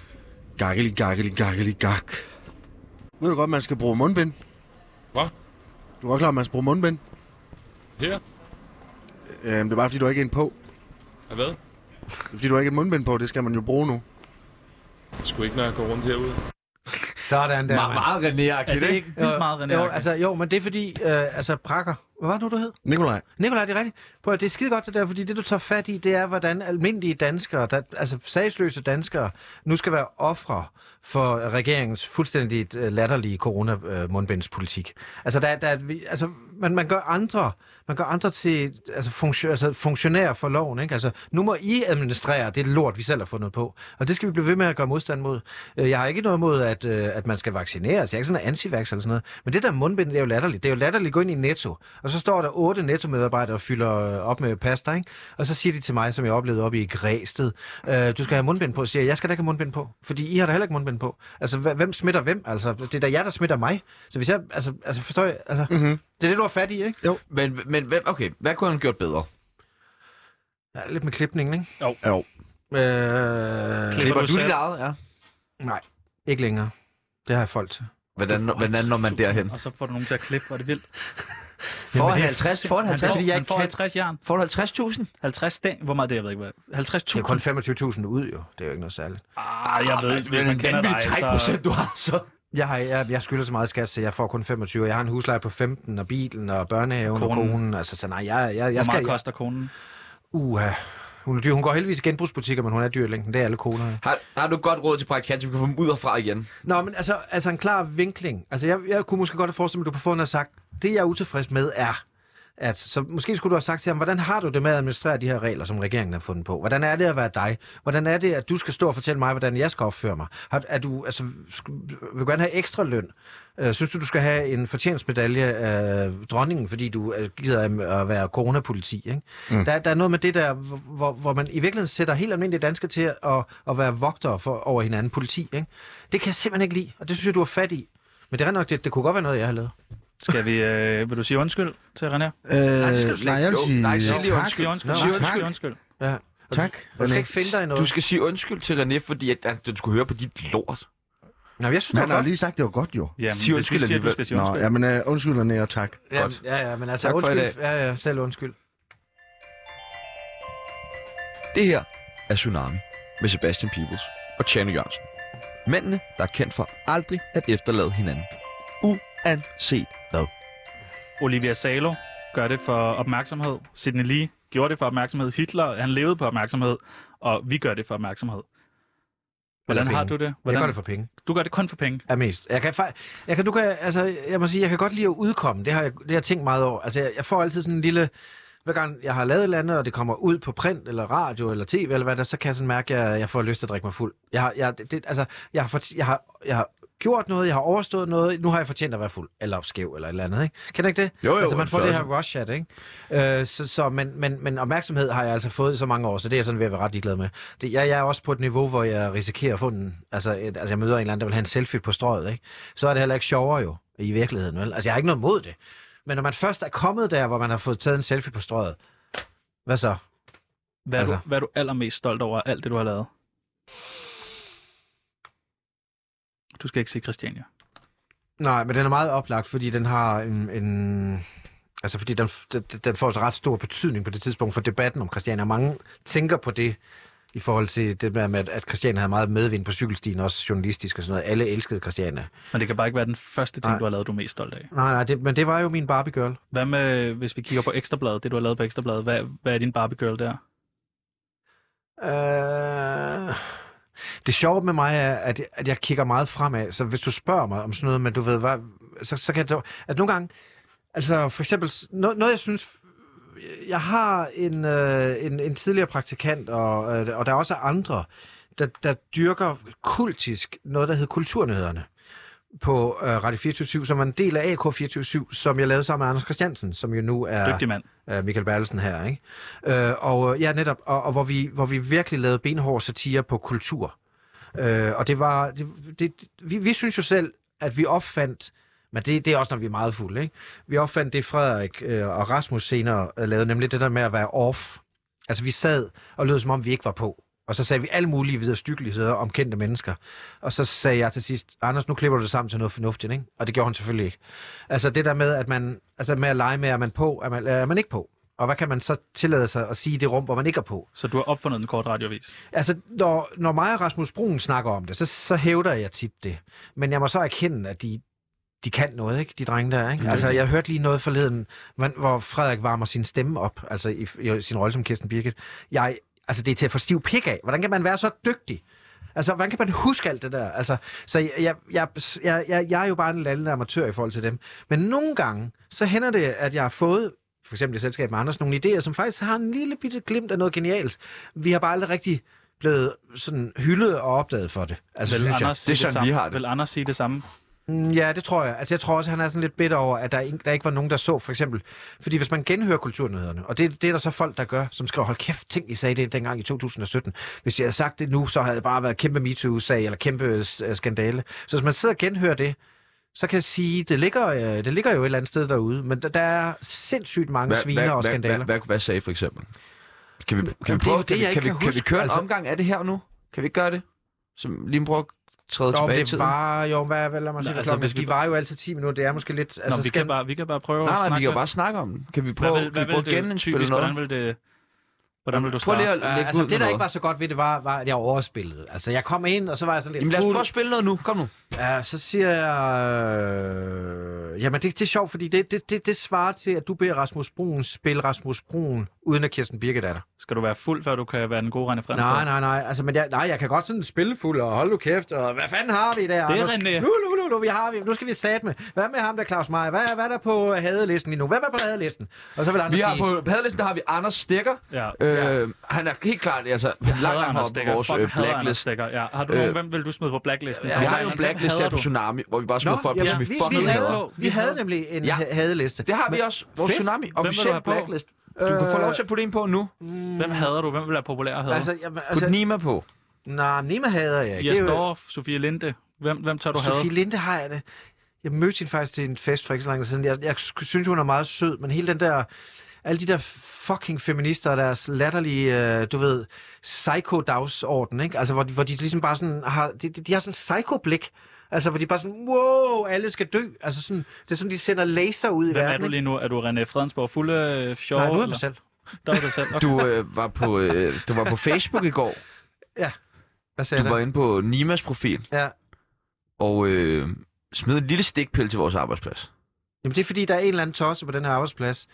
Speaker 6: Gakkeli, gakkeli, gakkeli, gak. Ved du godt, man skal bruge mundbind?
Speaker 9: Hvad?
Speaker 6: Du er godt klar, at man skal bruge mundbind.
Speaker 9: Her?
Speaker 6: Øhm, det er bare, fordi du har ikke en på.
Speaker 9: Af hvad?
Speaker 6: Det er, fordi du har ikke et mundbind på. Det skal man jo bruge nu.
Speaker 9: Sgu ikke, når jeg går rundt herude.
Speaker 5: Sådan der.
Speaker 3: Meget, meget
Speaker 5: mand.
Speaker 3: René-agtigt,
Speaker 2: er det ikke vildt meget, René?
Speaker 5: jo,
Speaker 2: Arken?
Speaker 5: altså, jo, men det er fordi, øh, altså prakker. Hvad var det nu, du hed?
Speaker 6: Nikolaj.
Speaker 5: Nikolaj, det er rigtigt. Prøv, at- det er skide godt det der, fordi det, du tager fat i, det er, hvordan almindelige danskere, der, altså sagsløse danskere, nu skal være ofre for regeringens fuldstændig øh, latterlige coronamundbindspolitik. Altså, der, der, er- vi- altså man, man gør andre man gør andre til altså, funktio, altså, funktionærer for loven. Ikke? Altså, nu må I administrere det lort, vi selv har fundet på. Og det skal vi blive ved med at gøre modstand mod. Øh, Jeg har ikke noget mod, at, øh, at man skal vaccineres. Jeg er ikke sådan en anti eller sådan noget. Men det der mundbind, det er jo latterligt. Det er jo latterligt at gå ind i Netto. Og så står der otte Netto-medarbejdere og fylder øh, op med pasta. Ikke? Og så siger de til mig, som jeg oplevede oppe i Græsted, øh, du skal have mundbind på. Så siger jeg, jeg skal da ikke have mundbind på. Fordi I har da heller ikke mundbind på. Altså, hva- hvem smitter hvem? Altså, det er da jer, der smitter mig. Så hvis jeg, altså, altså forstår jeg, altså,
Speaker 6: Mhm. Øh,
Speaker 5: mm-hmm. det er det, du har fat i, ikke?
Speaker 3: Men, men hvem- okay, hvad kunne han have gjort bedre?
Speaker 5: Ja, lidt med klipningen, ikke?
Speaker 2: Jo.
Speaker 6: Jo.
Speaker 5: Øh,
Speaker 2: Klip. du
Speaker 3: Klipper du dit
Speaker 2: selv?
Speaker 3: eget, ja?
Speaker 5: nej, ikke længere. Det har jeg folk til.
Speaker 3: Hvordan, hvordan når man derhen?
Speaker 2: Og så får du nogen til at klippe, og det er vildt.
Speaker 3: Får
Speaker 5: Jamen,
Speaker 3: han
Speaker 5: det er
Speaker 3: 50? Får han
Speaker 2: Han
Speaker 3: 50?
Speaker 2: får,
Speaker 5: fordi jeg
Speaker 2: han
Speaker 5: ikke
Speaker 2: får
Speaker 5: kan-
Speaker 2: 50 jern.
Speaker 3: Får du 50.000?
Speaker 2: 50 dage. Hvor meget det er, jeg ved ikke hvad. 50.000.
Speaker 5: Det er kun 25.000 ud, jo. Det er jo ikke noget særligt.
Speaker 2: Ah, jeg ved ikke, hvis man kender dig, så...
Speaker 3: du har, så...
Speaker 5: Jeg, har, jeg, jeg skylder så meget skat, så jeg får kun 25. Jeg har en husleje på 15, og bilen, og børnehaven, konen. og
Speaker 2: Konen.
Speaker 5: konen. Altså, så nej, jeg, jeg,
Speaker 2: Hvor
Speaker 5: jeg
Speaker 2: meget
Speaker 5: skal... Jeg,
Speaker 2: koster konen?
Speaker 5: uha. Hun, er dyr. hun går heldigvis i genbrugsbutikker, men hun er dyr i længden. Det er alle koner. jo.
Speaker 3: Har, har du et godt råd til praktikant, så vi kan få dem ud og fra igen?
Speaker 5: Nå, men altså, altså en klar vinkling. Altså, jeg, jeg kunne måske godt have forestillet mig, at du på forhånd har sagt, det jeg er utilfreds med er, at, så måske skulle du have sagt til ham, hvordan har du det med at administrere de her regler, som regeringen har fundet på? Hvordan er det at være dig? Hvordan er det, at du skal stå og fortælle mig, hvordan jeg skal opføre mig? Har, er du, altså, sku, vil du gerne have ekstra løn? Øh, synes du, du skal have en fortjensmedalje af dronningen, fordi du øh, gider at- at være coronapoliti? Ikke? Mm. Der, der er noget med det der, hvor- hvor, hvor man i virkeligheden sætter helt almindelige danskere til at, at være vogtere for, over hinanden, politi. Ikke? Det kan jeg simpelthen ikke lide, og det synes jeg, du har fat i. Men det er rigtig nok, det, det kunne godt være noget, jeg har lavet.
Speaker 2: Skal vi... Øh, vil du sige undskyld til René?
Speaker 6: Øh,
Speaker 5: det skal du slet
Speaker 6: nej, jeg vil
Speaker 3: Jo,
Speaker 6: sige
Speaker 3: nej, sig lige
Speaker 6: tak.
Speaker 2: Sig undskyld.
Speaker 5: Nå,
Speaker 2: Sig
Speaker 5: tak.
Speaker 2: undskyld. undskyld.
Speaker 5: Ja. Og
Speaker 6: Tak,
Speaker 5: Du, du skal
Speaker 6: René.
Speaker 5: ikke finde dig i noget.
Speaker 3: Du skal sige undskyld til René, fordi at, at den skulle høre på dit lort.
Speaker 5: Nå, men jeg synes,
Speaker 6: Men
Speaker 5: det
Speaker 6: han
Speaker 5: var
Speaker 6: har jo
Speaker 5: godt.
Speaker 6: lige sagt, det var godt jo.
Speaker 2: Jamen,
Speaker 3: Sig
Speaker 2: hvis vi
Speaker 3: undskyld
Speaker 2: siger, at du
Speaker 3: alligevel.
Speaker 2: skal sige
Speaker 6: Nå,
Speaker 2: undskyld.
Speaker 6: jamen, øh, undskyld og og tak.
Speaker 5: Ja,
Speaker 3: Godt.
Speaker 5: ja, ja, men altså,
Speaker 3: Tak for i
Speaker 5: undskyld. Ja, ja, selv undskyld.
Speaker 3: Det her er Tsunami. med Sebastian Peebles og Tjerno Jørgensen. Mændene, der er kendt for aldrig at efterlade hinanden. Uanset hvad.
Speaker 2: Olivia Salo gør det for opmærksomhed. Sidney Lee gjorde det for opmærksomhed. Hitler, han levede på opmærksomhed. Og vi gør det for opmærksomhed. Hvordan har du
Speaker 5: penge.
Speaker 2: det?
Speaker 5: Jeg
Speaker 2: Hvordan?
Speaker 5: gør det for penge.
Speaker 2: Du gør det kun for penge.
Speaker 5: er mest. Jeg kan, fa- jeg kan, du kan, altså, jeg må sige, jeg kan godt lide at udkomme. Det har jeg, det har jeg tænkt meget over. Altså, jeg, jeg får altid sådan en lille... Hver gang jeg har lavet et eller andet, og det kommer ud på print, eller radio, eller tv, eller hvad der, så kan jeg sådan mærke, at jeg, jeg får lyst til at drikke mig fuld. Jeg har, jeg, det, det, altså, jeg har, fort, jeg, har, jeg har gjort noget, jeg har overstået noget, nu har jeg fortjent at være fuld, eller skæv, eller et eller andet, ikke? Kan du ikke det?
Speaker 3: Jo, jo,
Speaker 5: altså, man får det her
Speaker 3: altså.
Speaker 5: rush hat, ikke? Øh, så, så, men, men, men opmærksomhed har jeg altså fået i så mange år, så det er jeg sådan ved at være ret ligeglad med. Det, jeg, jeg er også på et niveau, hvor jeg risikerer at få den. Altså, et, altså jeg møder en eller anden, der vil have en selfie på strøget, ikke? Så er det heller ikke sjovere jo, i virkeligheden, vel? Altså, jeg har ikke noget mod det. Men når man først er kommet der, hvor man har fået taget en selfie på strøget, hvad så?
Speaker 2: Hvad, altså. er,
Speaker 5: Altså.
Speaker 2: du, hvad er du allermest stolt over af alt det, du har lavet? Du skal ikke se Christiania.
Speaker 5: Nej, men den er meget oplagt, fordi den har en... en altså, fordi den, den, den får så ret stor betydning på det tidspunkt for debatten om Christiania. Mange tænker på det i forhold til det der med, at- at Christiania havde meget medvind på cykelstien, også journalistisk og sådan noget. Alle elskede Christiania.
Speaker 2: Men det kan bare ikke være den første ting,
Speaker 5: Nej.
Speaker 2: du har lavet, du er mest stolt af.
Speaker 5: Nej, nej, det, men det var jo min Barbie girl.
Speaker 2: Hvad med, hvis vi kigger på Ekstrabladet, det du har lavet på Ekstrabladet, hvad, hvad er din Barbie Girl der?
Speaker 5: Øh... Det sjove med mig er, at, at jeg kigger meget fremad, så hvis du spørger mig om sådan noget, men du ved hvad, så, så kan jeg... At nogle gange, altså for eksempel, s- noget, noget jeg synes, jeg har en, øh, en, en tidligere praktikant, og, øh, og der er også andre, der, der dyrker kultisk noget, der hedder kulturnyhederne på øh, Radio 24 som er en del af AK 24 som jeg lavede sammen med Anders Christiansen, som jo nu er
Speaker 2: Dygtig mand.
Speaker 5: øh, Michael Berlesen her, ikke? Øh, og øh, ja, netop, og, og hvor, vi, hvor vi virkelig lavede benhård satire på kultur. Øh, og det var, det, det, vi, vi synes jo selv, at vi opfandt, men det, det er også, når vi er meget fulde, ikke? Vi opfandt det, Frederik øh, og Rasmus senere øh, lavede, nemlig det der med at være off. Altså, vi sad og lød, som om vi ikke var på. Og så sagde vi alle mulige videre styggeligheder om kendte mennesker. Og så sagde jeg til sidst, Anders, nu klipper du det sammen til noget fornuftigt, ikke? Og det gjorde han selvfølgelig ikke. Altså det der med, at man, altså med at lege med, er man på, er man, er man ikke på? Og hvad kan man så tillade sig at sige i det rum, hvor man ikke er på?
Speaker 2: Så du har opfundet den korte radiovis.
Speaker 5: Altså, når, når mig og Rasmus Brun snakker om det, så, så hævder jeg tit det. Men jeg må så erkende, at de, de kan noget, ikke? De drenge der, ikke? Altså, jeg hørte lige noget forleden, hvor- hvor Frederik varmer sin stemme op, altså i, i sin rolle som Kirsten Birgit. Jeg, altså, det er til at få stiv pik af. Hvordan kan man være så dygtig? Altså, hvordan kan man huske alt det der? Altså, så jeg, jeg, jeg, jeg, jeg, jeg er jo bare en lallende amatør i forhold til dem. Men nogle gange, så hænder det, at jeg har fået for eksempel i selskab med Anders, nogle idéer, som faktisk har en lille bitte glimt af noget genialt. Vi har bare aldrig rigtig blevet sådan hyldet og opdaget for det. Altså, synes jeg.
Speaker 2: sige
Speaker 3: Det er sådan,
Speaker 2: samme?
Speaker 3: vi har det.
Speaker 2: Vil Anders sige det samme?
Speaker 5: Mm, Ja, det tror jeg. Altså, jeg tror også, han er sådan lidt bitter over, at der, ikke, der ikke var nogen, der så, for eksempel. Fordi hvis man genhører kulturnyhederne, og det, det er der så folk, der gør, som skriver, hold kæft, tænk, I sagde det dengang i 2017. Hvis jeg havde sagt det nu, så havde det bare været kæmpe MeToo-sag eller kæmpe øh, s- øh, skandale. Så hvis man sidder og genhører det, så kan jeg sige, det ligger, øh, det ligger jo et eller andet sted derude, men der, der er sindssygt mange sviner og
Speaker 3: hvad,
Speaker 5: skandaler.
Speaker 3: hvad, hvad, hvad sagde I for eksempel? Kan vi, kan vi,
Speaker 5: Jamen, det er
Speaker 3: prøve,
Speaker 5: jo
Speaker 3: kan,
Speaker 5: det,
Speaker 3: vi,
Speaker 5: jeg
Speaker 3: kan,
Speaker 5: ikke
Speaker 3: vi,
Speaker 5: kan
Speaker 3: kan vi
Speaker 5: huske,
Speaker 3: køre en
Speaker 5: altså.
Speaker 3: omgang af det her nu? Kan vi ikke gøre det? Som lige prøve at træde
Speaker 5: Nå,
Speaker 3: tilbage i
Speaker 5: men det
Speaker 3: tiden?
Speaker 5: var jo, hvad, hvad lad mig
Speaker 2: Nå,
Speaker 5: sige,
Speaker 2: altså,
Speaker 5: altså,
Speaker 2: hvis
Speaker 5: hvis
Speaker 2: vi
Speaker 5: vi var jo altid 10 minutter, det er måske lidt...
Speaker 2: Altså,
Speaker 5: Altså,
Speaker 2: Nå, vi,
Speaker 5: skal-
Speaker 2: kan bare, vi kan bare prøve at
Speaker 3: Nej, nej,
Speaker 2: snakke
Speaker 3: vi kan jo
Speaker 2: lidt.
Speaker 3: bare snakke om den. Kan vi prøve,
Speaker 2: Hvad vil, hvad
Speaker 3: kan vi prøve
Speaker 2: vil
Speaker 3: at
Speaker 2: det
Speaker 3: genindspille
Speaker 2: typisk,
Speaker 3: noget?
Speaker 2: hvordan vil det... Hvordan vil du
Speaker 3: Prøv
Speaker 2: svare?
Speaker 3: lige at lægge
Speaker 5: altså,
Speaker 3: ud med
Speaker 5: det, der
Speaker 3: noget.
Speaker 5: ikke var så godt ved det, var, var, at jeg overspillede. Altså, jeg kom ind, og så var jeg sådan lidt
Speaker 3: Jamen lad os
Speaker 5: fuld.
Speaker 3: prøve at spille noget nu. Kom nu.
Speaker 5: Ja, så siger jeg... Øh... Jamen, det, det er sjovt, fordi det, det, det, det svarer til, at du beder Rasmus Brun spille Rasmus Brun, uden at Kirsten Birgit er der.
Speaker 2: Skal du være fuld, før du kan være den gode René Frans?
Speaker 5: Nej, nej, nej. Altså, men jeg, nej, jeg kan godt sådan spille fuld og holde nu kæft, og hvad fanden har vi der? Det
Speaker 2: René.
Speaker 5: Nu, nu, nu, nu, vi har vi. Nu skal vi sat med. Hvad med ham der, Claus Meier? Hvad, hvad er der på hadelisten lige nu? Hvad er på hadelisten? Og så vil Anders
Speaker 3: Vi har
Speaker 5: sige...
Speaker 3: på paddelisten, der har vi Anders Stikker.
Speaker 2: Ja.
Speaker 3: Øh, han er helt klart altså,
Speaker 2: Jeg
Speaker 3: langt
Speaker 2: hader
Speaker 3: langt
Speaker 2: Anders
Speaker 3: op på
Speaker 2: Stikker.
Speaker 3: vores
Speaker 2: Fuck,
Speaker 3: øh,
Speaker 2: hader Anders
Speaker 3: blacklist.
Speaker 2: Stikker. Ja. Har du
Speaker 3: Øh,
Speaker 2: nogen, hvem vil du smide på blacklisten?
Speaker 3: Vi
Speaker 2: Kom
Speaker 5: Altså,
Speaker 2: så,
Speaker 3: har jo en
Speaker 2: Henrik.
Speaker 3: blacklist
Speaker 2: Hvem
Speaker 3: her på
Speaker 2: hader du?
Speaker 3: Tsunami, hvor vi bare
Speaker 5: Nå,
Speaker 3: smider folk, ud,
Speaker 5: jamen,
Speaker 3: som vi
Speaker 5: vi,
Speaker 3: fucking
Speaker 5: vi,
Speaker 3: hader.
Speaker 5: havde, vi havde nemlig en
Speaker 3: Ja.
Speaker 5: ja. hadeliste.
Speaker 3: Det har vi også. Vores
Speaker 5: Fedt.
Speaker 3: Tsunami,
Speaker 2: du
Speaker 3: officiel
Speaker 2: have på?
Speaker 3: blacklist. Du kan få lov til at putte en på nu.
Speaker 2: Hvem hader du? Hvem vil være populær at hade?
Speaker 5: Altså, jamen,
Speaker 3: Put
Speaker 5: altså,
Speaker 3: Nima på.
Speaker 5: nej, men Nima hader jeg. ikke.
Speaker 2: Jes
Speaker 5: Det er jo-
Speaker 2: Dorf, Sofie Linde. Hvem, hvem tør du
Speaker 5: Sofie
Speaker 2: have?
Speaker 5: Linde har jeg det. Jeg mødte hende faktisk til en fest for ikke så lang tid siden. Jeg, jeg sk- synes, hun er meget sød, men hele den der... Alle de der fucking feminister og deres latterlige, øh, du ved, psyko-dagsorden, ikke? Altså, hvor, de- hvor de ligesom bare sådan har... De, de, de har sådan en psyko-blik. Altså, hvor de bare sådan, wow, alle skal dø. Altså, sådan, det er sådan, de sender laser ud i
Speaker 2: Hvem er
Speaker 5: verden,
Speaker 2: du lige nu? Er du René Fredensborg fulde øh, sjov?
Speaker 5: Nej, nu er jeg
Speaker 2: eller?
Speaker 5: mig selv.
Speaker 2: Der er du dig selv. Okay.
Speaker 3: Du øh, var på øh, du var på Facebook i går.
Speaker 5: Ja. Hvad sagde
Speaker 3: Du var inde på Nimas profil
Speaker 5: Ja.
Speaker 3: og øh, smed en lille stikpille til vores arbejdsplads.
Speaker 5: Jamen, det er fordi, der er en eller anden tosse på den her arbejdsplads.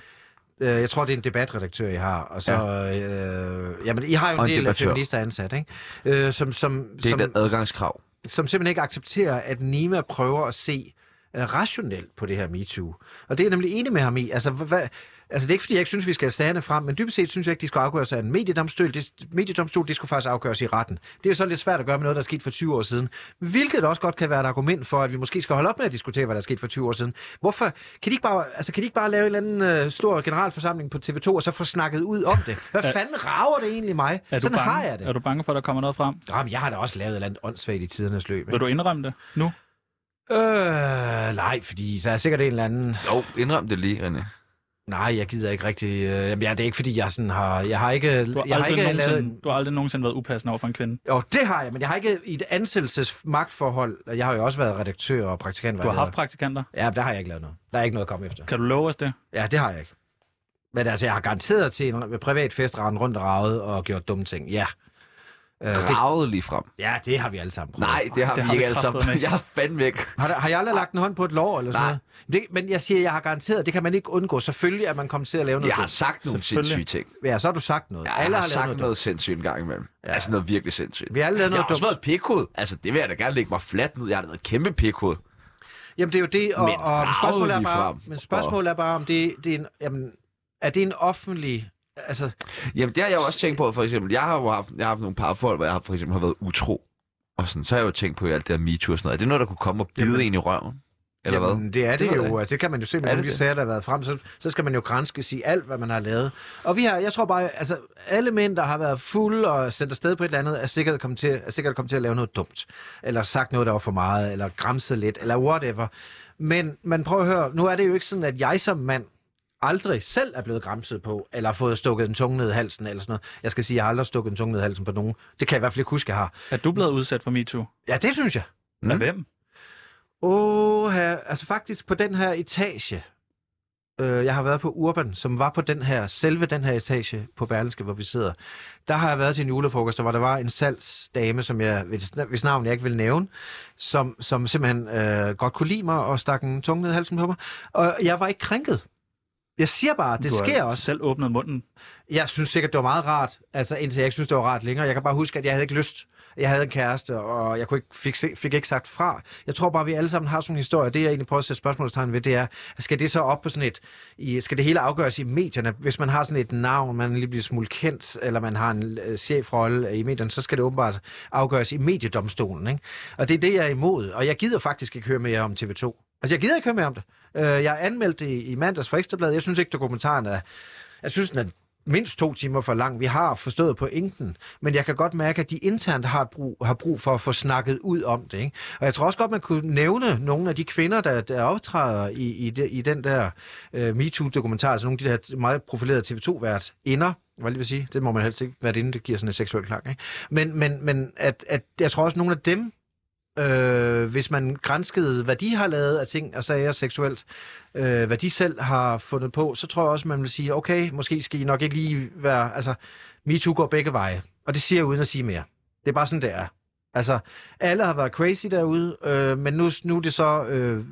Speaker 5: Øh, Jeg tror, det er en debatredaktør, I har. Og så, ja. øh, jamen, I har jo en,
Speaker 3: Og en
Speaker 5: del af
Speaker 3: debattør.
Speaker 5: feminister ansat, ikke? Øh, som, som,
Speaker 3: Det er
Speaker 5: som,
Speaker 3: et adgangskrav.
Speaker 5: som simpelthen ikke accepterer, at Nima prøver at se øh, rationelt på det her MeToo. Og det er jeg nemlig enig med ham i. Altså, hvad, altså det er ikke, fordi jeg ikke synes, vi skal have sagerne frem, men dybest set synes jeg ikke, de skal afgøres af en mediedomstol. Det, mediedomstol, det skulle faktisk afgøres i retten. Det er så lidt svært at gøre med noget, der er sket for 20 år siden. Hvilket også godt kan være et argument for, at vi måske skal holde op med at diskutere, hvad der er sket for 20 år siden. Hvorfor? Kan de ikke bare, altså, kan de ikke bare lave en eller anden øh, stor generalforsamling på TV2, og så få snakket ud om det? Hvad fanden rager det egentlig mig?
Speaker 2: Er du,
Speaker 5: Sådan
Speaker 2: bange,
Speaker 5: har jeg det.
Speaker 2: er du bange for, at der kommer noget frem?
Speaker 5: Jamen, jeg har da også lavet et eller andet åndssvagt i tidernes løb. ikke?
Speaker 2: Vil du indrømme det nu?
Speaker 5: Øh, nej, fordi så er jeg sikkert en eller anden...
Speaker 3: Jo, indrøm det lige, René.
Speaker 5: Nej, jeg gider ikke rigtig... Øh, jamen, ja, det er ikke, fordi jeg sådan har... Jeg har ikke...
Speaker 2: Du har,
Speaker 5: jeg har
Speaker 2: aldrig,
Speaker 5: ikke
Speaker 2: nogensinde,
Speaker 5: lavet... en-
Speaker 2: du har aldrig nogensinde været upassende over for en kvinde.
Speaker 5: Jo, det har jeg, men jeg har ikke i et ansættelsesmagtforhold... Jeg har jo også været redaktør og praktikant.
Speaker 2: Du har haft praktikanter.
Speaker 5: Ja, men der har jeg ikke lavet noget. Der er ikke noget at komme efter.
Speaker 2: Kan du love os det?
Speaker 5: Ja, det har jeg ikke. Men altså, jeg har garanteret til en privat fest rendt rundt og ravet og gjort dumme ting. Ja. Øh, det,
Speaker 3: Ravet lige frem.
Speaker 5: ja, det har vi alle sammen prøvet.
Speaker 3: Nej, det har
Speaker 2: det
Speaker 3: vi
Speaker 2: har
Speaker 3: ikke
Speaker 2: vi
Speaker 3: alle
Speaker 2: kraftedeme
Speaker 3: sammen.
Speaker 2: ikke.
Speaker 3: Jeg er fandme væk.
Speaker 5: Har, der, har jeg aldrig lagt en hånd på et lår eller sådan
Speaker 3: Nej.
Speaker 5: noget? Det, men jeg siger, jeg har garanteret, det kan man ikke undgå. Selvfølgelig er man kommet til at lave noget
Speaker 3: Jeg har
Speaker 5: dumt.
Speaker 3: sagt nogle
Speaker 2: Selvfølgelig.
Speaker 3: sindssyge ting.
Speaker 5: Ja, så har du sagt noget.
Speaker 3: Jeg Alle har,
Speaker 5: lavet
Speaker 3: sagt
Speaker 5: dumt.
Speaker 3: noget sindssygt en gang imellem. Ja. Altså noget virkelig sindssygt.
Speaker 5: Vi har alle
Speaker 3: jeg
Speaker 5: lavet noget
Speaker 3: har også
Speaker 5: dumt.
Speaker 3: været pikkud. Altså, det vil jeg da gerne lægge mig fladt ned. Jeg har da været et kæmpe pikkud.
Speaker 5: Jamen, det er jo det, og,
Speaker 3: Men
Speaker 5: og
Speaker 3: raget
Speaker 5: spørgsmålet, er bare,
Speaker 3: ligefrem.
Speaker 5: men spørgsmålet er bare, om det, det er en, jamen, er det en offentlig... Altså,
Speaker 3: Jamen, det har jeg jo også tænkt på, for eksempel. Jeg har jo haft, jeg har haft nogle parforhold, hvor jeg har, for eksempel har været utro. Og sådan, så har jeg jo tænkt på i alt det her MeToo og sådan noget. Er det noget, der kunne komme og bide
Speaker 5: Jamen.
Speaker 3: en i røven? Eller
Speaker 5: jamen,
Speaker 3: hvad?
Speaker 5: det er det,
Speaker 3: ved
Speaker 5: det
Speaker 3: jeg
Speaker 5: jo.
Speaker 3: ikke.
Speaker 5: Altså, det kan man jo se med
Speaker 3: Er det
Speaker 5: nogle af de
Speaker 3: det?
Speaker 5: sager, der har været frem. Så, så skal man jo grænske sige alt, hvad man har lavet. Og vi har, jeg tror bare, altså, alle mænd, der har været fulde og sendt afsted på et eller andet, er sikkert kommet til, er sikkert kommet til at lave noget dumt. Eller sagt noget, der var for meget, eller græmset lidt, eller whatever. Men man prøver at høre, nu er det jo ikke sådan, at jeg som mand aldrig selv er blevet græmset på, eller har fået stukket en tunge ned i halsen, eller sådan noget. Jeg skal sige, jeg har aldrig stukket en tunge ned i halsen på nogen. Det kan jeg i hvert fald ikke huske, jeg har.
Speaker 2: Er du blevet udsat for MeToo?
Speaker 5: Ja, det synes jeg.
Speaker 2: Mm. Af hvem?
Speaker 5: Åh, altså faktisk på den her etage. Øh, jeg har været på Urban, som var på den her, selve den her etage på Berlinske, hvor vi sidder. Der har jeg været til en julefrokost, hvor der var en salgsdame, som jeg, hvis hvis navn jeg ikke vil nævne, som, som simpelthen øh, godt kunne lide mig og stak en tunge ned i halsen på mig. Og jeg var ikke krænket. Jeg siger bare, det
Speaker 2: du har
Speaker 5: sker også.
Speaker 2: selv åbnet munden.
Speaker 5: Jeg synes sikkert, det var meget rart, altså indtil jeg ikke synes, det var rart længere. Jeg kan bare huske, at jeg havde ikke lyst. Jeg havde en kæreste, og jeg kunne ikke, fik, se- fik ikke sagt fra. Jeg tror bare, vi alle sammen har sådan en historie. Det, jeg egentlig prøver at sætte spørgsmålstegn ved, det er, skal det så op på sådan et... I, skal det hele afgøres i medierne? Hvis man har sådan et navn, man er lige bliver smule kendt, eller man har en øh, chefrolle i medierne, så skal det åbenbart afgøres i mediedomstolen. Ikke? Og det er det, jeg er imod. Og jeg gider faktisk ikke høre mere om TV2. Altså, jeg gider ikke høre mere om det. Øh, jeg anmeldte det i, i mandags for Ekstrabladet. Jeg synes ikke, dokumentaren er... Jeg synes, den er mindst to timer for lang. Vi har forstået pointen, men jeg kan godt mærke, at de internt har et brug, har brug for at få snakket ud om det. Ikke? Og jeg tror også godt, man kunne nævne nogle af de kvinder, der, der optræder i, i, de, i den der øh, MeToo-dokumentar, altså nogle af de der meget profilerede TV2-vært inder, hvad lige vil sige, det må man helst ikke være inde, det giver sådan en seksuel klang. Ikke? Men, men, men at, at jeg tror også, nogle af dem, øh, hvis man grænskede, hvad de har lavet af ting og sager seksuelt, øh, hvad de selv har fundet på, så tror jeg også, man vil sige, okay, måske skal I nok ikke lige være... Altså, MeToo går begge veje, og det siger jeg uden at sige mere. Det er bare sådan, det er. Altså, alle har været crazy derude, øh, men nu, nu er det så øh,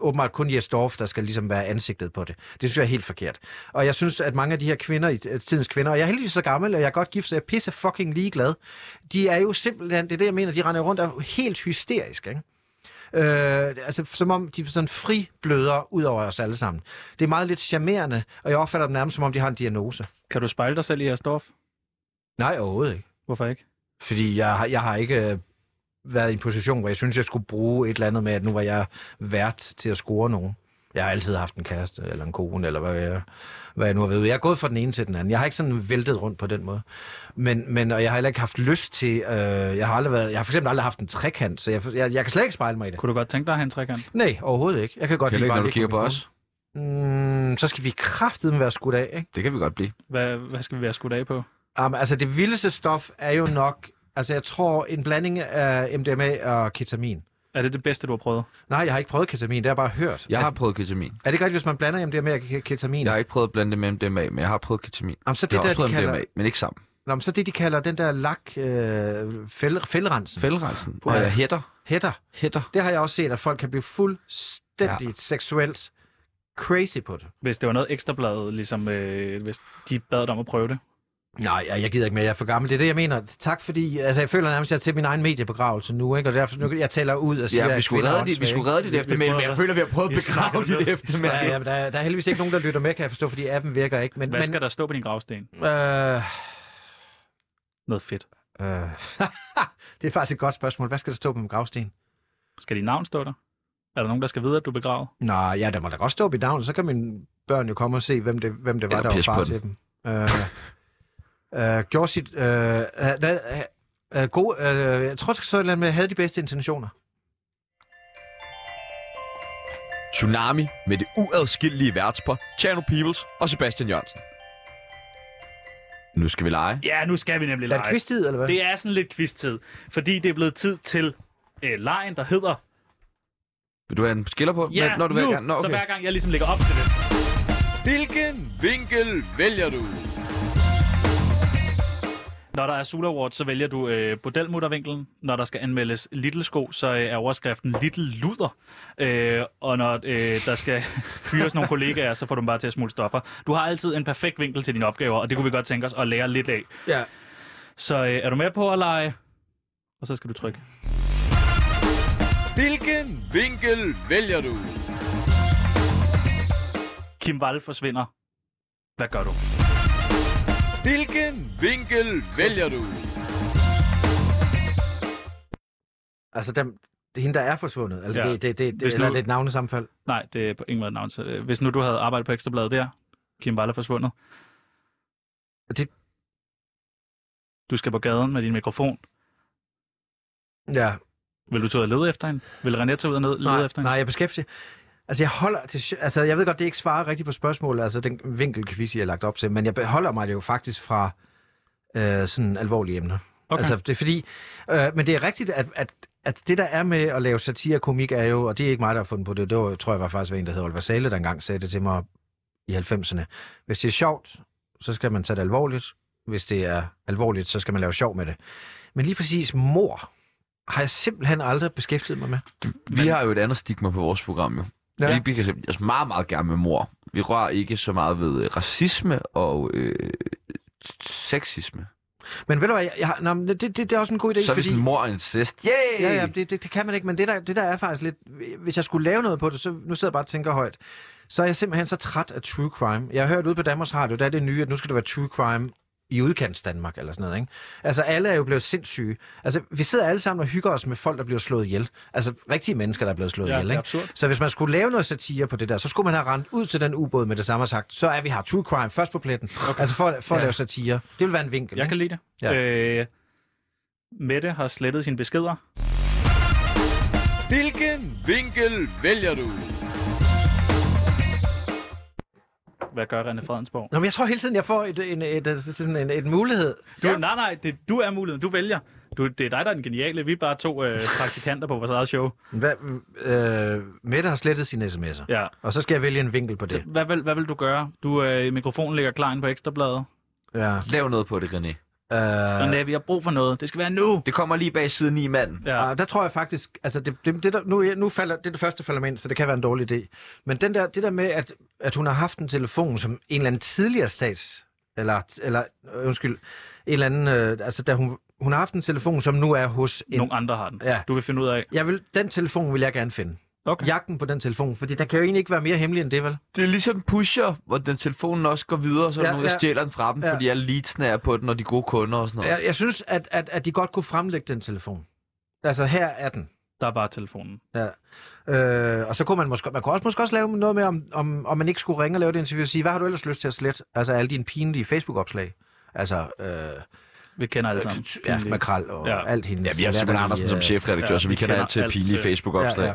Speaker 5: åbenbart kun Jes Dorf, der skal ligesom være ansigtet på det. Det synes jeg er helt forkert. Og jeg synes, at mange af de her kvinder, i- øh, tidens kvinder, og jeg er heldigvis så gammel, og jeg er godt gift, så jeg er pisse fucking ligeglad. De er jo simpelthen, det er det, jeg mener, de render rundt og er helt hysteriske, ikke? Øh, altså, som om de sådan fribløder ud over os alle sammen. Det er meget lidt charmerende, og jeg opfatter dem nærmest, som om de har en diagnose.
Speaker 2: Kan du spejle dig selv i jeres stof?
Speaker 5: Nej, overhovedet ikke.
Speaker 2: Hvorfor ikke?
Speaker 5: Fordi jeg, har- jeg har ikke øh, været i en position, hvor jeg synes, jeg skulle bruge et eller andet med, at nu var jeg vært til at score nogen. Jeg har altid haft en kæreste, eller en kone, eller hvad jeg, hvad jeg nu har ved. Jeg er gået fra den ene til den anden. Jeg har ikke sådan væltet rundt på den måde. Men, men og jeg har heller ikke haft lyst til... Øh, jeg, har aldrig været, jeg har for eksempel aldrig haft en trekant, så jeg, jeg, jeg kan slet ikke spejle mig i det.
Speaker 2: Kunne du godt tænke dig at have en trekant?
Speaker 5: Nej, overhovedet ikke. Jeg kan godt
Speaker 3: Kan du ikke,
Speaker 5: bare
Speaker 3: når du
Speaker 5: at ligge
Speaker 3: kigger på os?
Speaker 5: min Mm, så skal vi kraftedeme være skudt af, ikke?
Speaker 3: Det kan vi godt blive.
Speaker 2: Hvad, hvad skal vi være skudt af på?
Speaker 5: Um, altså, det vildeste stof er jo nok... Altså, jeg tror, en blanding af MDMA og ketamin.
Speaker 2: Er det det bedste, du har prøvet?
Speaker 5: Nej, jeg har ikke prøvet ketamin, det har jeg bare hørt.
Speaker 3: Jeg
Speaker 5: er,
Speaker 3: har prøvet ketamin.
Speaker 5: er det ikke rigtigt, hvis man blander MDMA og ke- ketamin?
Speaker 3: Jeg har ikke prøvet at blande det med MDMA, men jeg har prøvet ketamin.
Speaker 5: Jamen, så
Speaker 3: Jeg
Speaker 5: det
Speaker 3: har
Speaker 5: der,
Speaker 3: også
Speaker 5: de
Speaker 3: prøvet
Speaker 5: kalder...
Speaker 3: MDMA, men ikke sammen.
Speaker 5: Nå, men så det, de kalder den der lak, øh, fæld, fældrensen,
Speaker 10: Fældrejsen.
Speaker 5: Ja.
Speaker 3: Øh, hætter.
Speaker 5: hætter,
Speaker 3: Hætter.
Speaker 5: det har jeg også set, at folk kan blive fuldstændig ja. seksuelt crazy på det.
Speaker 2: Hvis det var noget ekstrabladet, ligesom øh, hvis de bad dig om at prøve det.
Speaker 5: Nej, jeg, jeg gider ikke mere, jeg er for gammel. Det er det, jeg mener. Tak fordi, altså jeg føler nærmest, at jeg er til min egen mediebegravelse nu, ikke? Og derfor, nu, jeg taler ud og siger,
Speaker 3: Ja, vi
Speaker 5: at
Speaker 3: skulle
Speaker 5: Altså, kvinder er
Speaker 3: redde dit, vi
Speaker 5: åndssvage.
Speaker 3: skulle redde
Speaker 2: Vi-
Speaker 3: dit
Speaker 2: vi
Speaker 3: eftermæl, men
Speaker 2: prøver-
Speaker 3: jeg føler, vi har prøvet at
Speaker 2: Vi snakker
Speaker 3: begrave
Speaker 2: om
Speaker 3: dit
Speaker 2: det.
Speaker 3: eftermæl.
Speaker 5: Ja, ja, men der, der er heldigvis ikke nogen, der lytter med, kan jeg forstå, fordi appen virker ikke. Men,
Speaker 2: Hvad
Speaker 5: men,
Speaker 2: skal der stå på din gravsten?
Speaker 5: Øh,
Speaker 2: Noget fedt.
Speaker 5: øh, det er faktisk et godt spørgsmål. Hvad skal der stå på min gravsten?
Speaker 2: Skal dit navn stå der? Er der nogen, der skal vide, at du er begravet?
Speaker 5: Nå, ja, der må da godt stå på mit navn, så kan mine børn jo komme og se, hvem det, hvem det var,
Speaker 3: Eller
Speaker 5: der var
Speaker 3: pis
Speaker 5: far
Speaker 3: på
Speaker 5: til dem. Øh, øh, gjorde sit... Øh, øh, øh, øh, gode, øh, jeg tror, det så et eller andet med, havde de bedste intentioner.
Speaker 1: Tsunami med det uadskillelige værtspar, Chano Peoples og Sebastian Jørgensen.
Speaker 3: Nu skal vi lege.
Speaker 2: Ja, nu skal vi nemlig
Speaker 5: Er det
Speaker 2: lege.
Speaker 5: kvisttid, eller hvad?
Speaker 2: Det er sådan lidt kvisttid, fordi det er blevet tid til øh, lejen, der hedder...
Speaker 3: Vil du have en skiller på?
Speaker 2: Ja,
Speaker 3: når du
Speaker 2: nu!
Speaker 3: vil gerne. Nå,
Speaker 2: Så
Speaker 3: okay.
Speaker 2: hver gang jeg ligesom lægger op til det.
Speaker 1: Hvilken vinkel vælger du?
Speaker 2: Når der er Sula Award, så vælger du øh, bordelmuttervinkelen. Når der skal anmeldes Little Sko, så øh, er overskriften Little Luder. Øh, og når øh, der skal fyres nogle kollegaer, så får du dem bare til at smule stoffer. Du har altid en perfekt vinkel til dine opgaver, og det kunne vi godt tænke os at lære lidt af.
Speaker 5: Ja.
Speaker 2: Så øh, er du med på at lege? Og så skal du trykke.
Speaker 1: Hvilken vinkel vælger du?
Speaker 2: Kim Wall forsvinder. Hvad gør du?
Speaker 1: Hvilken vinkel vælger du?
Speaker 5: Altså, dem, det er hende, der er forsvundet. Altså,
Speaker 2: Ja.
Speaker 5: ja. det, det, det,
Speaker 2: Hvis
Speaker 5: det, eller
Speaker 2: nu-
Speaker 5: det er et navnesamfald.
Speaker 2: Nej, det er på ingen måde et navn. Så, øh, Hvis nu du havde arbejdet på Ekstrabladet der, Kim Wall er forsvundet.
Speaker 5: Det-
Speaker 2: Du skal på gaden med din mikrofon.
Speaker 5: Ja.
Speaker 2: Vil du tage ud og lede efter hende? Vil René tage ud og ned, lede
Speaker 5: Nej,
Speaker 2: efter hende?
Speaker 5: nej, jeg beskæftiger. Altså, jeg holder til... sj- Altså, jeg ved godt, det ikke svarer rigtigt på spørgsmålet, altså den vinkelquiz, jeg har lagt op til, men jeg beholder mig jo faktisk fra øh, sådan alvorlige emner.
Speaker 2: Okay.
Speaker 5: Altså, det er fordi... Øh, men det er rigtigt, at, at, at det, der er med at lave satire og komik, er jo... Og det er ikke mig, der har fundet på det. Det var, tror jeg var faktisk en, der hedder Oliver Sale, der engang sagde det til mig i 90'erne. Hvis det er sjovt, så skal man tage det alvorligt. Hvis det er alvorligt, så skal man lave sjov med det. Men lige præcis mor har jeg simpelthen aldrig beskæftiget mig med.
Speaker 3: Vi har jo et andet stigma på vores program, jo. Ja. Vi, vi kan simpelthen altså meget, meget gerne med mor. Vi rører ikke så meget ved øh, racisme og øh, sexisme.
Speaker 5: Men ved du hvad, jeg, jeg, har- nå, men det, det, det er også en god idé,
Speaker 3: så er vi
Speaker 5: fordi...
Speaker 3: sådan mor og incest. Yay!
Speaker 5: Ja, ja, det, det, det kan man ikke, men det der, det der er faktisk lidt... Hvis jeg skulle lave noget på det, så nu sidder jeg bare og tænker højt. Så er jeg simpelthen så træt af true crime. Jeg har hørt ude på Danmarks Radio, der er det nye, at nu skal det være true crime i udkants Danmark eller sådan noget, ikke? Altså, alle er jo blevet sindssyge. Altså, vi sidder alle sammen og hygger os med folk, der bliver slået ihjel. Altså, rigtige mennesker, der er blevet slået
Speaker 2: Ja,
Speaker 5: ihjel,
Speaker 2: det er
Speaker 5: ikke?
Speaker 2: absurd.
Speaker 5: Så hvis man skulle lave noget satire på det der, så skulle man have rent ud til den ubåd med det samme og sagt, så er vi her true crime først på pletten. Okay. Altså, for, for at lave satire. Det vil være en vinkel,
Speaker 2: Jeg
Speaker 5: ikke?
Speaker 2: kan lide det.
Speaker 5: Ja.
Speaker 2: Øh, Mette har slettet sine beskeder.
Speaker 1: Hvilken vinkel vælger du?
Speaker 2: Hvad gør René Fredensborg?
Speaker 5: Nå, men jeg tror hele tiden, jeg får et, en, et, et, sådan en, et mulighed.
Speaker 2: Du, Nej, nej, det, du er muligheden. Du vælger. Du, det er dig, der er den geniale. Vi er bare to øh, praktikanter på vores eget show.
Speaker 5: Hvad, øh, Mette har slettet sine sms'er, ja.
Speaker 2: Ja.
Speaker 5: og så skal jeg vælge en vinkel på
Speaker 2: Så,
Speaker 5: det.
Speaker 2: hvad, vil, hvad vil du gøre? Du, øh, mikrofonen ligger klar inde på Ekstrabladet.
Speaker 5: Ja.
Speaker 3: Lav noget på det, René.
Speaker 5: Øh,
Speaker 2: René, vi har brug for noget. Det skal være nu.
Speaker 3: Det kommer lige bag siden i manden.
Speaker 2: Ja.
Speaker 5: ja. Der tror jeg faktisk, altså det, det, det der, nu, er- nu falder, det er det første, der falder mig ind, så det kan være en dårlig idé. Men den der, det der med, at, at hun har haft en telefon, som en eller anden tidligere stats, eller, eller øh, undskyld, en eller anden, øh, altså da hun, hun har haft en telefon, som nu er hos en...
Speaker 2: Nogle andre har den.
Speaker 5: Ja.
Speaker 2: Du vil finde ud af.
Speaker 5: Jeg vil, den telefon vil jeg gerne finde.
Speaker 2: Okay.
Speaker 5: Jagten på den telefon, fordi den kan jo egentlig ikke være mere hemmelig end det, vel?
Speaker 3: Det er ligesom pusher, hvor den telefonen også går videre, og så er der
Speaker 5: Ja,
Speaker 3: nogen, der
Speaker 5: ja.
Speaker 3: stjæler den fra dem,
Speaker 5: Ja.
Speaker 3: fordi alle leadsene er på den, og de gode kunder og sådan noget.
Speaker 5: Jeg, jeg synes, at, at, at de godt kunne fremlægge den telefon. Altså, her er den.
Speaker 2: Der er bare telefonen.
Speaker 5: Ja. Øh, og så kunne man, måske, man kunne også, måske også lave noget med, om, om, om man ikke skulle ringe og lave et interview og sige, hvad har du ellers lyst til at slette? Altså alle dine pinlige Facebook-opslag. Altså, øh,
Speaker 2: Vi kender alle sammen.
Speaker 5: ja,
Speaker 2: Pinlige.
Speaker 5: Makral og
Speaker 2: Ja.
Speaker 5: ja. alt hendes...
Speaker 3: Ja, vi har Simon
Speaker 5: latterlige,
Speaker 3: Andersen som
Speaker 5: øh,
Speaker 3: chefredaktør,
Speaker 2: ja,
Speaker 3: så
Speaker 2: vi
Speaker 3: vi kender
Speaker 2: kender
Speaker 3: altid
Speaker 2: alt,
Speaker 3: pinlige
Speaker 2: øh,
Speaker 3: Facebook-opslag.
Speaker 5: Ja, ja.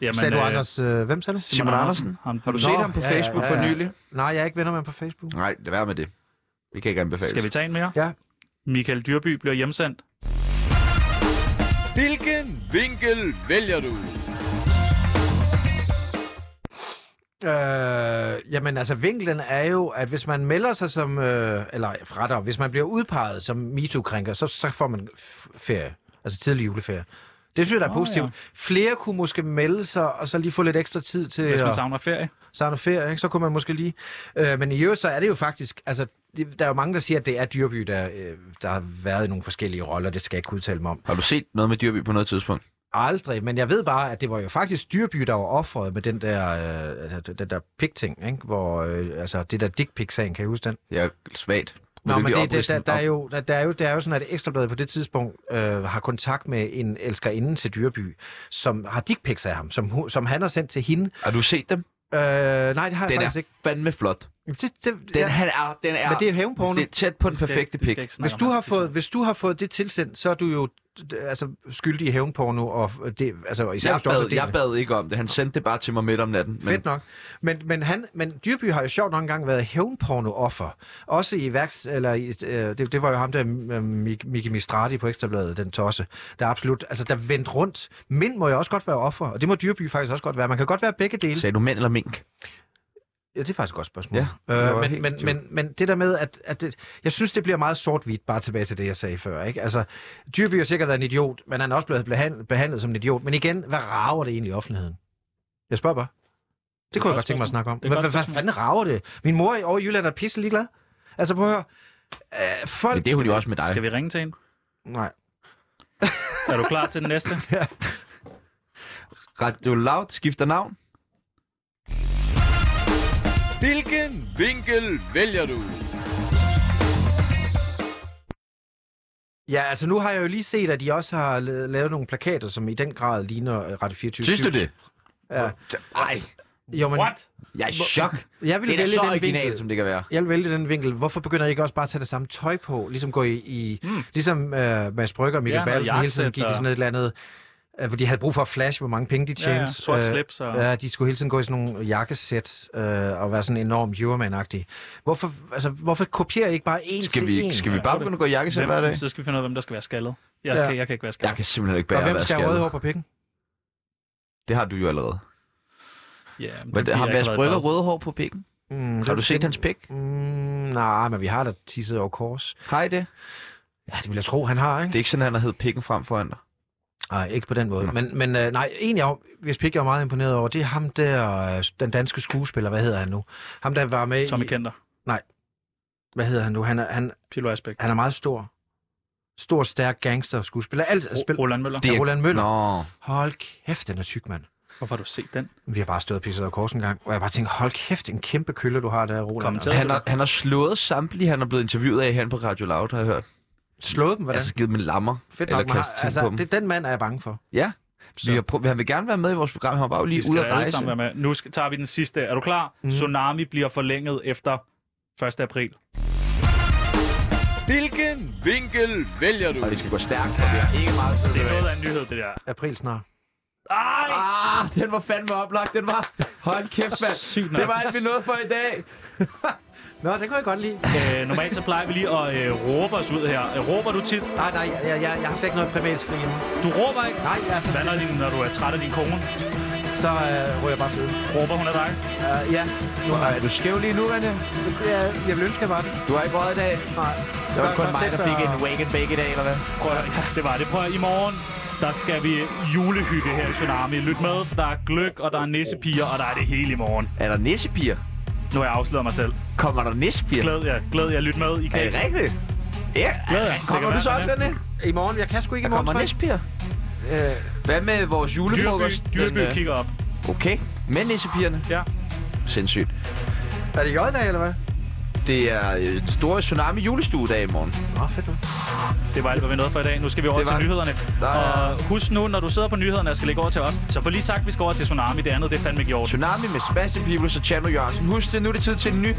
Speaker 2: Jamen,
Speaker 5: Sagde du
Speaker 2: øh,
Speaker 5: Anders, øh, hvem sagde du?
Speaker 3: Simon Andersen?
Speaker 2: Ham,
Speaker 3: Har du
Speaker 2: den-
Speaker 3: set
Speaker 2: Nå,
Speaker 3: ham på
Speaker 5: ja, ja,
Speaker 3: Facebook
Speaker 5: ja,
Speaker 3: for
Speaker 5: ja.
Speaker 3: nylig?
Speaker 5: Nej, jeg er ikke venner med ham på Facebook.
Speaker 3: Nej, det vær med det. Det kan ikke anbefales.
Speaker 2: Skal vi tage en mere?
Speaker 5: Ja.
Speaker 2: Michael Dyrby bliver hjemsendt.
Speaker 1: Hvilken vinkel vælger du?
Speaker 5: Øh, jamen altså, vinklen er jo, at hvis man melder sig som, øh, eller fretter, hvis man bliver udpeget som MeToo-krænker, så, så får man f- ferie, altså tidlig juleferie. Det synes jeg, der er
Speaker 2: Nå,
Speaker 5: positivt.
Speaker 2: ja.
Speaker 5: Flere kunne måske melde sig, og så lige få lidt ekstra tid til
Speaker 2: Hvis man
Speaker 5: at
Speaker 2: savner ferie.
Speaker 5: savne ferie, ikke? så kunne man måske lige. Øh, men i øvrigt, så er det jo faktisk, altså, det, der er jo mange, der siger, at det er Dyrby, der, øh, der har været i nogle forskellige roller, det skal jeg ikke udtale mig om.
Speaker 3: Har du set noget med Dyrby på noget tidspunkt?
Speaker 5: Aldrig, men jeg ved bare, at det var jo faktisk Dyrby, der var offret med den der, øh, altså, den der pik-ting, ikke? Hvor, øh, altså det der dick pic sagen kan I huske den?
Speaker 3: Det er svagt. Vil
Speaker 5: Nå,
Speaker 3: du
Speaker 5: men
Speaker 3: lige
Speaker 5: det, det,
Speaker 3: opridse
Speaker 5: der,
Speaker 3: den
Speaker 5: der, er
Speaker 3: op?
Speaker 5: jo, der, der, er jo, der er jo sådan, at Ekstrabladet på det tidspunkt øh, har kontakt med en elskerinde til Dyrby, som har dick pics af ham, som, hu- som han har sendt til hende.
Speaker 3: Har du set dem?
Speaker 5: Øh, nej, det har jeg
Speaker 3: Den
Speaker 5: faktisk
Speaker 3: er
Speaker 5: ikke.
Speaker 3: fandme flot.
Speaker 5: Jamen, Det, det,
Speaker 3: Den,
Speaker 5: ja,
Speaker 3: han er, den er,
Speaker 5: men det er hævnporno.
Speaker 3: det er tæt på den perfekte pik.
Speaker 5: Hvis du, har fået, hvis du har fået det tilsendt, så er du jo d- altså, skyldig i hævnporno, og det, altså, især
Speaker 3: Jeg
Speaker 5: hvis du også er
Speaker 3: bad,
Speaker 5: del af
Speaker 3: jeg
Speaker 5: det.
Speaker 3: bad ikke om det. Han sendte det bare til mig midt om natten.
Speaker 5: Men... Fedt nok. Men, men, han, men Dyrby har jo sjovt nok engang været hævnporno-offer. Også i værks... Eller, i, øh, det, det, var jo ham der, øh, Mik- Miki Mistrati på Ekstrabladet, den tosse. Der er absolut... Altså, der vendte rundt. Mænd må jo også godt være offer, og det må Dyrby faktisk også godt være. Man kan godt være begge dele.
Speaker 3: Sagde du mænd eller mink?
Speaker 5: Ja, det er faktisk et godt spørgsmål.
Speaker 3: Ja,
Speaker 5: Ja,
Speaker 3: det var
Speaker 5: øh, men,
Speaker 3: helt
Speaker 5: men,
Speaker 3: i tvivl.
Speaker 5: men, men det der med, at, at det, jeg synes, det bliver meget sort-hvidt, bare tilbage til det, jeg sagde før. Ikke? Altså, Dyrby har sikkert været en idiot, men han er også blevet behandlet, behandlet som en idiot. Men igen, hvad rager det egentlig i offentligheden? Jeg spørger bare. Det,
Speaker 2: et
Speaker 5: kunne jeg
Speaker 2: godt
Speaker 5: godt tænke mig at snakke om.
Speaker 2: Det er
Speaker 5: Hvad,
Speaker 2: et
Speaker 5: hvad,
Speaker 2: godt
Speaker 5: hvad
Speaker 2: spørgsmål.
Speaker 5: fanden rager det? Min mor i- over i Jylland er pisse ligeglad. Altså, prøv at høre. Øh, folk...
Speaker 3: Men det er hun jo også med dig.
Speaker 2: Skal vi ringe til en?
Speaker 5: Nej.
Speaker 2: Er du klar til den næste?
Speaker 3: Radio Loud skifter navn.
Speaker 10: Hvilken vinkel vælger du?
Speaker 5: Ja, altså nu har jeg jo lige set, at de også har la- lavet nogle plakater, som i den grad ligner øh, Radio 24
Speaker 3: Synes du det?
Speaker 5: Ja. Altså,
Speaker 3: Nej,
Speaker 5: Jo, men
Speaker 2: What?
Speaker 3: jeg er i chok.
Speaker 5: jeg ville
Speaker 3: Det er da
Speaker 5: vælge
Speaker 3: så
Speaker 5: den
Speaker 3: originalt,
Speaker 5: vinkel.
Speaker 3: som det kan være.
Speaker 5: Jeg vil vælge den vinkel. Hvorfor begynder I ikke også bare at tage det samme tøj på? Ligesom gå i... i mm. Ligesom øh, Mads Brygger og Mikkel
Speaker 2: Hmm. Ja,
Speaker 5: ja,
Speaker 2: noget
Speaker 5: Bertelsen hele tiden
Speaker 2: jakkesæt
Speaker 5: gik i
Speaker 2: og-
Speaker 5: sådan et eller andet... Øh, hvor de havde brug for at flash, hvor mange penge de tjente. Øh,
Speaker 2: Ja, ja. Sort slips og-
Speaker 5: Ja, de skulle hele tiden gå i sådan nogle jakkesæt øh, og være sådan enormt Euroman-agtige. Hvorfor, altså, hvorfor kopierer I ikke bare én
Speaker 3: Skal
Speaker 5: til
Speaker 3: vi,
Speaker 5: én?
Speaker 3: skal vi bare begynde at gå i jakkesæt hver dag?
Speaker 2: Hvem, så skal vi finde ud af, hvem der skal være skaldet. Jeg,
Speaker 5: Ja.
Speaker 2: ja. kan, jeg kan ikke være
Speaker 3: Jeg
Speaker 2: skaldet.
Speaker 3: kan simpelthen ikke
Speaker 5: og
Speaker 3: bære at
Speaker 5: hvem
Speaker 3: være
Speaker 5: skal have røde hår
Speaker 3: skaldet.
Speaker 5: på pikken?
Speaker 3: Det har du jo allerede.
Speaker 2: Ja, men det er
Speaker 3: Men
Speaker 2: fordi,
Speaker 3: har
Speaker 2: jeg
Speaker 3: Mads
Speaker 2: ikke
Speaker 3: Brygger
Speaker 2: været i bad.
Speaker 3: røde hår på pikken?
Speaker 5: Mm,
Speaker 3: Har du set hans pik?
Speaker 5: Mm, nej, men vi har da tisset over kors.
Speaker 3: Hej det.
Speaker 5: Ja, det vil jeg tro, han har, ikke?
Speaker 3: Det er ikke sådan, han har hed pikken frem foran dig.
Speaker 5: Nej, ikke på den måde.
Speaker 3: Nå.
Speaker 5: Men, men øh, nej, en jeg, hvis pik jeg er meget imponeret over, det er ham der, øh, den danske skuespiller, hvad hedder han nu? Ham der var med
Speaker 2: Tommy
Speaker 5: i,
Speaker 2: Kenter,
Speaker 5: hvad hedder han nu? Han er, han,
Speaker 2: Pilo Asbæk,
Speaker 5: han er meget stor. Stor, stærk gangster skuespiller. Alt er spil.
Speaker 2: Roland Møller.
Speaker 5: Det er Roland Møller.
Speaker 3: Nå,
Speaker 5: Hold kæft, den er tyk, mand.
Speaker 2: Hvorfor har du set den?
Speaker 5: Vi har bare stået og pisset over kors en gang, og jeg bare tænkte, hold kæft, en kæmpe kølle, du har der, Roland.
Speaker 2: Kommenteret.
Speaker 3: han har, han har slået samtlige, han er blevet interviewet af her på Radio Loud, har jeg hørt.
Speaker 5: Slået dem, hvordan?
Speaker 3: Altså givet dem en lammer,
Speaker 5: Fedt
Speaker 3: eller
Speaker 5: nok, man har,
Speaker 3: kastet ting
Speaker 5: altså,
Speaker 3: på dem.
Speaker 5: det, den mand er jeg bange for.
Speaker 3: Ja, vi har prøvet, han vil gerne være med i vores program, han var jo
Speaker 2: Vi
Speaker 3: lige
Speaker 2: skal
Speaker 3: ude at
Speaker 2: alle
Speaker 3: rejse.
Speaker 2: sammen være med. Nu skal, tager vi den sidste. Er du klar?
Speaker 5: Mhm.
Speaker 2: Mm. Tsunami bliver forlænget efter 1. april.
Speaker 10: Hvilken vinkel vælger du?
Speaker 3: Og det skal gå stærkt, og det er ikke meget tid
Speaker 2: Det er
Speaker 3: tilbage.
Speaker 2: noget af en nyhed, det der.
Speaker 5: April snart.
Speaker 2: Ej!
Speaker 3: Ah, den var fandme oplagt, den var. Hold kæft, mand.
Speaker 2: Sygt nok.
Speaker 3: Det var alt, vi nåede for i dag.
Speaker 5: Nå, det kunne jeg godt lide.
Speaker 2: Øh, normalt så plejer vi lige at øh, råbe os ud her. Øh, råber du tit?
Speaker 5: Nej, nej, jeg, jeg, jeg har slet ikke noget privat skrig hjemme.
Speaker 2: Du råber ikke?
Speaker 5: Nej, altså,
Speaker 2: Hvad når, din- når du er træt af din kone?
Speaker 5: så øh, ryger jeg bare til.
Speaker 2: Råber hun af dig?
Speaker 5: Uh, ja, nu har jeg
Speaker 3: Du skæv lige nu, Vanja.
Speaker 5: Jeg, jeg vil ønske, jeg var det.
Speaker 3: Du har ikke røget i dag.
Speaker 5: Nej.
Speaker 3: Det var kun mig, der fik en wake and bake i dag, eller hvad?
Speaker 2: Prøv at, høre. ja, det var det. Prøv at, høre. i morgen, der skal vi julehygge her i Tsunami. Lyt med, der er gløk, og der er nissepiger, og der er det hele i morgen.
Speaker 3: Er der nissepiger?
Speaker 2: Nu har jeg afsløret mig selv.
Speaker 3: Kommer der nissepiger?
Speaker 2: Glæd jer, glæd jer, lyt med. I kan
Speaker 3: Er det
Speaker 2: ikke-
Speaker 3: rigtigt? Ja,
Speaker 2: Glæder jeg.
Speaker 3: kommer
Speaker 2: Det
Speaker 3: du
Speaker 2: kan
Speaker 3: så
Speaker 2: være,
Speaker 3: også,
Speaker 2: det er.
Speaker 3: René?
Speaker 5: I morgen, jeg kan sgu ikke
Speaker 3: Der
Speaker 5: i morgen,
Speaker 3: kommer
Speaker 5: tror jeg.
Speaker 3: nissepiger.
Speaker 5: Øh,
Speaker 3: Hvad med vores
Speaker 2: Dyrby,
Speaker 3: julefrokost?
Speaker 2: Dyrby
Speaker 3: Den, øh,
Speaker 2: kigger op.
Speaker 3: Okay, med nissepigerne.
Speaker 2: Ja.
Speaker 3: Sindssygt.
Speaker 5: er det jøddag, eller hvad?
Speaker 3: Det er øh, den store tsunami julestuedag i morgen.
Speaker 5: Nå, fedt nok.
Speaker 2: Det var alt, hvad vi nåede for i dag. Nu skal vi over
Speaker 3: Det var
Speaker 2: til
Speaker 3: det.
Speaker 2: nyhederne.
Speaker 3: Der er-
Speaker 2: Og husk nu, når du sidder på nyhederne og skal lægge over til os, så få lige sagt, at vi skal over til Tsunami. Det andet, det er fandme gjort.
Speaker 3: Tsunami med Sebastian Pibels og Chano Jørgensen. Husk det, nu er det tid til en ny...